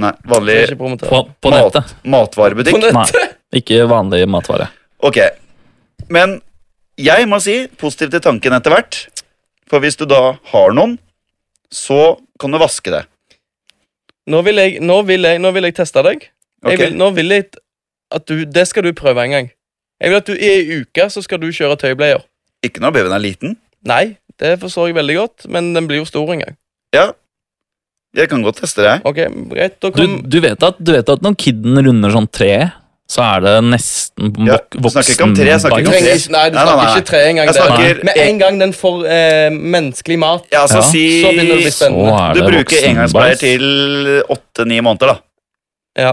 [SPEAKER 1] Nei,
[SPEAKER 2] Så
[SPEAKER 1] vanlig
[SPEAKER 2] Ikke promoter.
[SPEAKER 3] På, på
[SPEAKER 1] mat,
[SPEAKER 3] nettet.
[SPEAKER 2] På
[SPEAKER 1] matvarebutikk.
[SPEAKER 2] nett.
[SPEAKER 3] Nei. Ikke vanlig matvare.
[SPEAKER 1] Ok. Men jeg må si positivt til tanken etter hvert. For hvis du da har noen, så kan du vaske det.
[SPEAKER 2] Nå vil jeg, nå vil jeg, nå vil jeg teste deg. Jeg
[SPEAKER 1] Ok?
[SPEAKER 2] vil, nå vil jeg t- at du, Det skal du prøve en gang. Jeg vil at du I ei uke så skal du kjøre tøybleier.
[SPEAKER 1] Ikke når babyen er liten.
[SPEAKER 2] Nei, det forstår jeg veldig godt, men den blir jo stor en gang.
[SPEAKER 1] Jeg kan godt teste det. jeg.
[SPEAKER 2] Ok, greit, da
[SPEAKER 3] Du,
[SPEAKER 2] kom...
[SPEAKER 3] du, vet at, du vet at når kidden runder sånn tre, så er det nesten
[SPEAKER 1] Ja,
[SPEAKER 3] vok
[SPEAKER 1] du snakker ikke om
[SPEAKER 3] voksen
[SPEAKER 1] tre, jeg snakker
[SPEAKER 2] Du
[SPEAKER 1] ikke om
[SPEAKER 3] bagage.
[SPEAKER 2] trenger ikke,
[SPEAKER 1] Nei, nei,
[SPEAKER 2] nei, du snakker
[SPEAKER 1] nei.
[SPEAKER 2] ikke tre engang.
[SPEAKER 1] Jeg snakker
[SPEAKER 2] Med en gang den får eh, menneskelig mat,
[SPEAKER 1] Ja, altså
[SPEAKER 3] Ja.
[SPEAKER 2] så begynner det å bli
[SPEAKER 1] si
[SPEAKER 2] spennende.
[SPEAKER 3] Så er
[SPEAKER 1] Du
[SPEAKER 3] det
[SPEAKER 1] bruker
[SPEAKER 3] voksen
[SPEAKER 1] engangsbleier
[SPEAKER 3] bæsj.
[SPEAKER 1] til åtte-ni måneder, da.
[SPEAKER 2] Ja.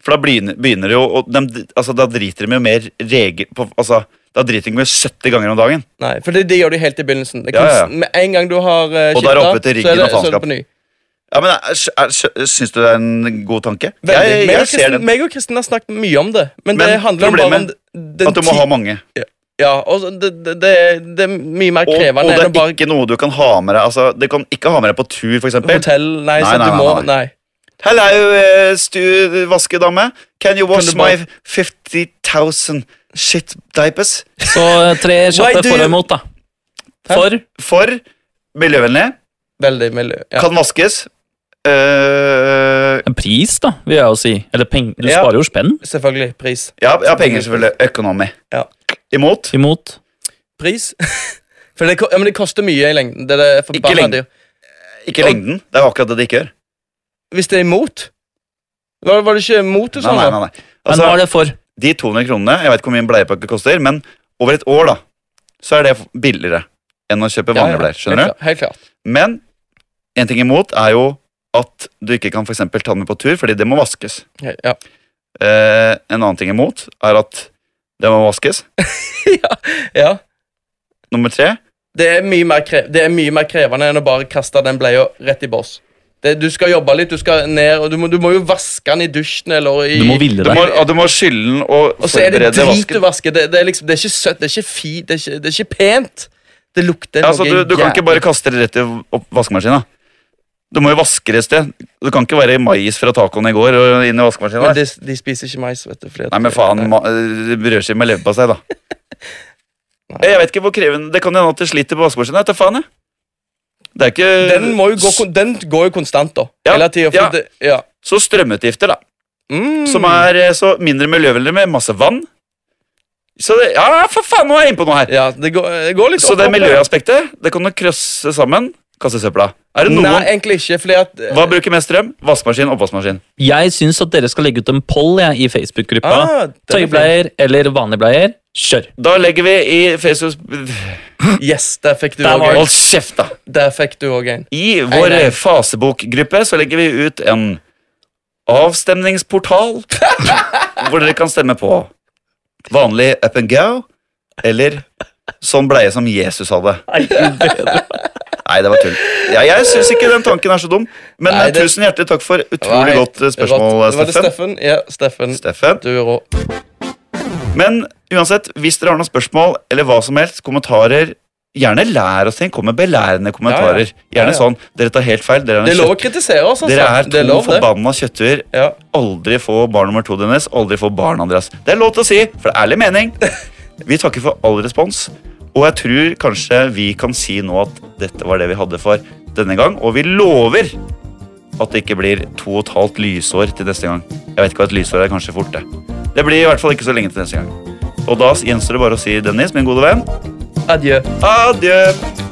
[SPEAKER 1] For da begynner, begynner det jo og dem- altså, Da driter de jo mer regel på, altså, Da driter de jo 70 ganger om dagen.
[SPEAKER 2] Nei, for det, det gjør du helt i begynnelsen. Det
[SPEAKER 1] Ja,
[SPEAKER 2] kan,
[SPEAKER 1] ja.
[SPEAKER 2] Med en gang du har eh,
[SPEAKER 1] Og da er det oppe til
[SPEAKER 2] skiftet, så
[SPEAKER 1] ryggen
[SPEAKER 2] er det,
[SPEAKER 1] og
[SPEAKER 2] så er det
[SPEAKER 1] faenskap.
[SPEAKER 2] på ny.
[SPEAKER 1] Ja, men er, er, er, Syns du det er en god tanke?
[SPEAKER 2] Veldig.
[SPEAKER 1] Jeg,
[SPEAKER 2] meg,
[SPEAKER 1] jeg
[SPEAKER 2] og
[SPEAKER 1] ser
[SPEAKER 2] Kristin,
[SPEAKER 1] den.
[SPEAKER 2] meg og Kristin har snakket mye om det, men,
[SPEAKER 1] Men
[SPEAKER 2] det handler om bare om
[SPEAKER 1] problemet-
[SPEAKER 2] d- den
[SPEAKER 1] At du må
[SPEAKER 2] ti-
[SPEAKER 1] ha mange.
[SPEAKER 2] Ja, og så- det, det, det, er- det er mye mer
[SPEAKER 1] Og,
[SPEAKER 2] krevende
[SPEAKER 1] og det
[SPEAKER 2] enn å bare
[SPEAKER 1] er ikke noe du kan ha med deg Altså, Du kan ikke ha med deg på tur, for eksempel.
[SPEAKER 2] hotell. Nei,
[SPEAKER 1] Nei,
[SPEAKER 2] så
[SPEAKER 1] nei,
[SPEAKER 2] du
[SPEAKER 1] nei,
[SPEAKER 2] må
[SPEAKER 1] nei,
[SPEAKER 2] Nei.
[SPEAKER 1] Hello, eh, stu vaskedame. Can you wash
[SPEAKER 2] Kan du bare-
[SPEAKER 1] my 50,000 shit diapers?
[SPEAKER 3] Så eh, tre
[SPEAKER 2] Why
[SPEAKER 3] kjappe
[SPEAKER 2] do
[SPEAKER 3] for og
[SPEAKER 2] you-
[SPEAKER 3] imot, da.
[SPEAKER 2] Hæ?
[SPEAKER 3] For
[SPEAKER 1] For miljøvennlig.
[SPEAKER 2] Veldig miljø. Ja.
[SPEAKER 1] Kan vaskes. Eh,
[SPEAKER 3] en pris, da, vil jeg jo si. Eller peng, du
[SPEAKER 2] Ja.
[SPEAKER 3] sparer jo spenn
[SPEAKER 2] Selvfølgelig. Pris.
[SPEAKER 1] ja, ja, penger, selvfølgelig. Økonomi.
[SPEAKER 2] Ja.
[SPEAKER 1] Imot.
[SPEAKER 3] imot.
[SPEAKER 2] Pris? For det, ko- ja, men det koster mye i lengden. Det er forbanna
[SPEAKER 1] lengden.
[SPEAKER 2] dyrt.
[SPEAKER 1] Ikke lengden. Det er jo akkurat det de ikke gjør.
[SPEAKER 2] Hvis det er imot? Var, var det ikke imot du
[SPEAKER 1] Nei,
[SPEAKER 2] sa?
[SPEAKER 1] nei,
[SPEAKER 2] nå?
[SPEAKER 1] nei, nei.
[SPEAKER 3] Men
[SPEAKER 1] Altså,
[SPEAKER 3] hva er det for?
[SPEAKER 1] De 200 kronene, jeg vet ikke hvor mye en bleiepakke koster, men over et år da, så er det billigere enn å kjøpe
[SPEAKER 2] Ja, ja,
[SPEAKER 1] vanlige bleier. skjønner du?
[SPEAKER 2] Helt klart. Helt klart.
[SPEAKER 1] Men en ting imot er jo at du ikke kan for eksempel ta den med på tur, fordi det må vaskes.
[SPEAKER 2] He- Ja.
[SPEAKER 1] Eh, en annen ting imot er at det må vaskes.
[SPEAKER 2] ja.
[SPEAKER 1] Nummer tre
[SPEAKER 2] Det, er mye mer kre det er mye mer krevende enn å bare kaste den bleia rett i boss. Det, du skal jobbe litt, du skal ned, og du må, du må jo vaske den i dusjen eller i
[SPEAKER 3] Du må hvile
[SPEAKER 1] Du må,
[SPEAKER 3] deg.
[SPEAKER 1] ja, du må skylle den og,
[SPEAKER 2] Og så er det
[SPEAKER 1] forberede
[SPEAKER 2] drit du
[SPEAKER 1] vasken.
[SPEAKER 2] vasker. Det, det, er liksom, det er ikke søtt, det er ikke fi, det er ikke, det er ikke pent. Det lukter
[SPEAKER 1] Ja, altså, du, du kan
[SPEAKER 2] jævlig.
[SPEAKER 1] ikke bare kaste det rett i opp- vaskemaskinen. Du må jo vaske det et sted. Du kan ikke være i mais fra tacoen i går og inn i vaskemaskinen.
[SPEAKER 2] Men
[SPEAKER 1] der.
[SPEAKER 2] de, de spiser ikke mais, vet du. fordi at-
[SPEAKER 1] Nei, men faen, ma- øh, brødskive med leverpastei, da. Eh, Jeg vet ikke hvor krevende Det kan hende at det sliter på vaskemaskinen. Jeg vet da faen, jeg. Det er ikke
[SPEAKER 2] Den, må jo gå, kon- den går jo konstant, da.
[SPEAKER 1] Ja,
[SPEAKER 2] Hele tida.
[SPEAKER 1] ja.
[SPEAKER 2] Det, ja.
[SPEAKER 1] Så strømutgifter, da.
[SPEAKER 2] Mm.
[SPEAKER 1] Som er eh, så mindre miljøvennlig med masse vann. Så det, ja, for faen, nå er jeg inne på noe her.
[SPEAKER 2] Ja, det går, det går litt
[SPEAKER 1] Så
[SPEAKER 2] opp
[SPEAKER 1] det
[SPEAKER 2] og ned.
[SPEAKER 1] miljøaspektet, det kan du krøsse sammen. Kaste i søpla. Er det
[SPEAKER 2] Nei, eh,
[SPEAKER 1] noen
[SPEAKER 2] egentlig ikke, fordi at
[SPEAKER 1] Hva bruker mest strøm? Vaskemaskin, oppvaskmaskin.
[SPEAKER 3] Jeg syns at dere skal legge ut en poll jeg, i Facebook-gruppa.
[SPEAKER 2] Ah, den er
[SPEAKER 3] Tøybleier eller vanlige bleier? Kjør!
[SPEAKER 1] Da legger vi i Facebook
[SPEAKER 2] fin. Yes, der fikk du
[SPEAKER 3] Der
[SPEAKER 2] òg
[SPEAKER 3] var
[SPEAKER 2] en.
[SPEAKER 1] Hold kjeft, da!
[SPEAKER 2] Der fikk du også en.
[SPEAKER 1] I
[SPEAKER 2] Nei,
[SPEAKER 1] vår
[SPEAKER 2] nei.
[SPEAKER 1] fasebokgruppe så legger vi ut en avstemningsportal hvor dere kan stemme på vanlig up and go eller sånn bleie som Jesus hadde. Nei, det var tull. Ja, jeg syns ikke den tanken er så dum, men eh,
[SPEAKER 2] Nei, det-
[SPEAKER 1] tusen hjertelig takk for
[SPEAKER 2] var
[SPEAKER 1] utrolig
[SPEAKER 2] helt
[SPEAKER 1] godt eh, spørsmål,
[SPEAKER 2] rått. Var det
[SPEAKER 1] Steffen.
[SPEAKER 2] Steffen? Ja, Steffen.
[SPEAKER 1] Steffen.
[SPEAKER 2] Du er rå.
[SPEAKER 1] Men uansett, hvis dere har noen spørsmål eller hva som helst, kommentarer Gjerne lær oss ting. Kom med belærende kommentarer.
[SPEAKER 2] Ja,
[SPEAKER 1] Gjerne
[SPEAKER 2] ja.
[SPEAKER 1] sånn. Dere tar helt feil. Dere er,
[SPEAKER 2] Det er
[SPEAKER 1] en
[SPEAKER 2] lov å kritisere oss, altså.
[SPEAKER 1] Dere er
[SPEAKER 2] det
[SPEAKER 1] to
[SPEAKER 2] er lov, det.
[SPEAKER 1] forbanna kjøtthuer.
[SPEAKER 2] Ja.
[SPEAKER 1] Aldri få barn nummer to, Dennis. Aldri få barn, Andreas. Det er lov til å si, for det er ærlig mening. Vi takker for all respons, og jeg tror kanskje vi kan si nå at dette var det vi hadde for denne gang, og vi lover at det ikke blir to og et halvt lysår til neste gang. Jeg vet ikke hva et lysår er, kanskje fort det. Det blir i hvert fall ikke så lenge til neste gang. Og da gjenstår det bare å si Dennis, min gode venn,
[SPEAKER 2] Adjø.
[SPEAKER 1] adjø.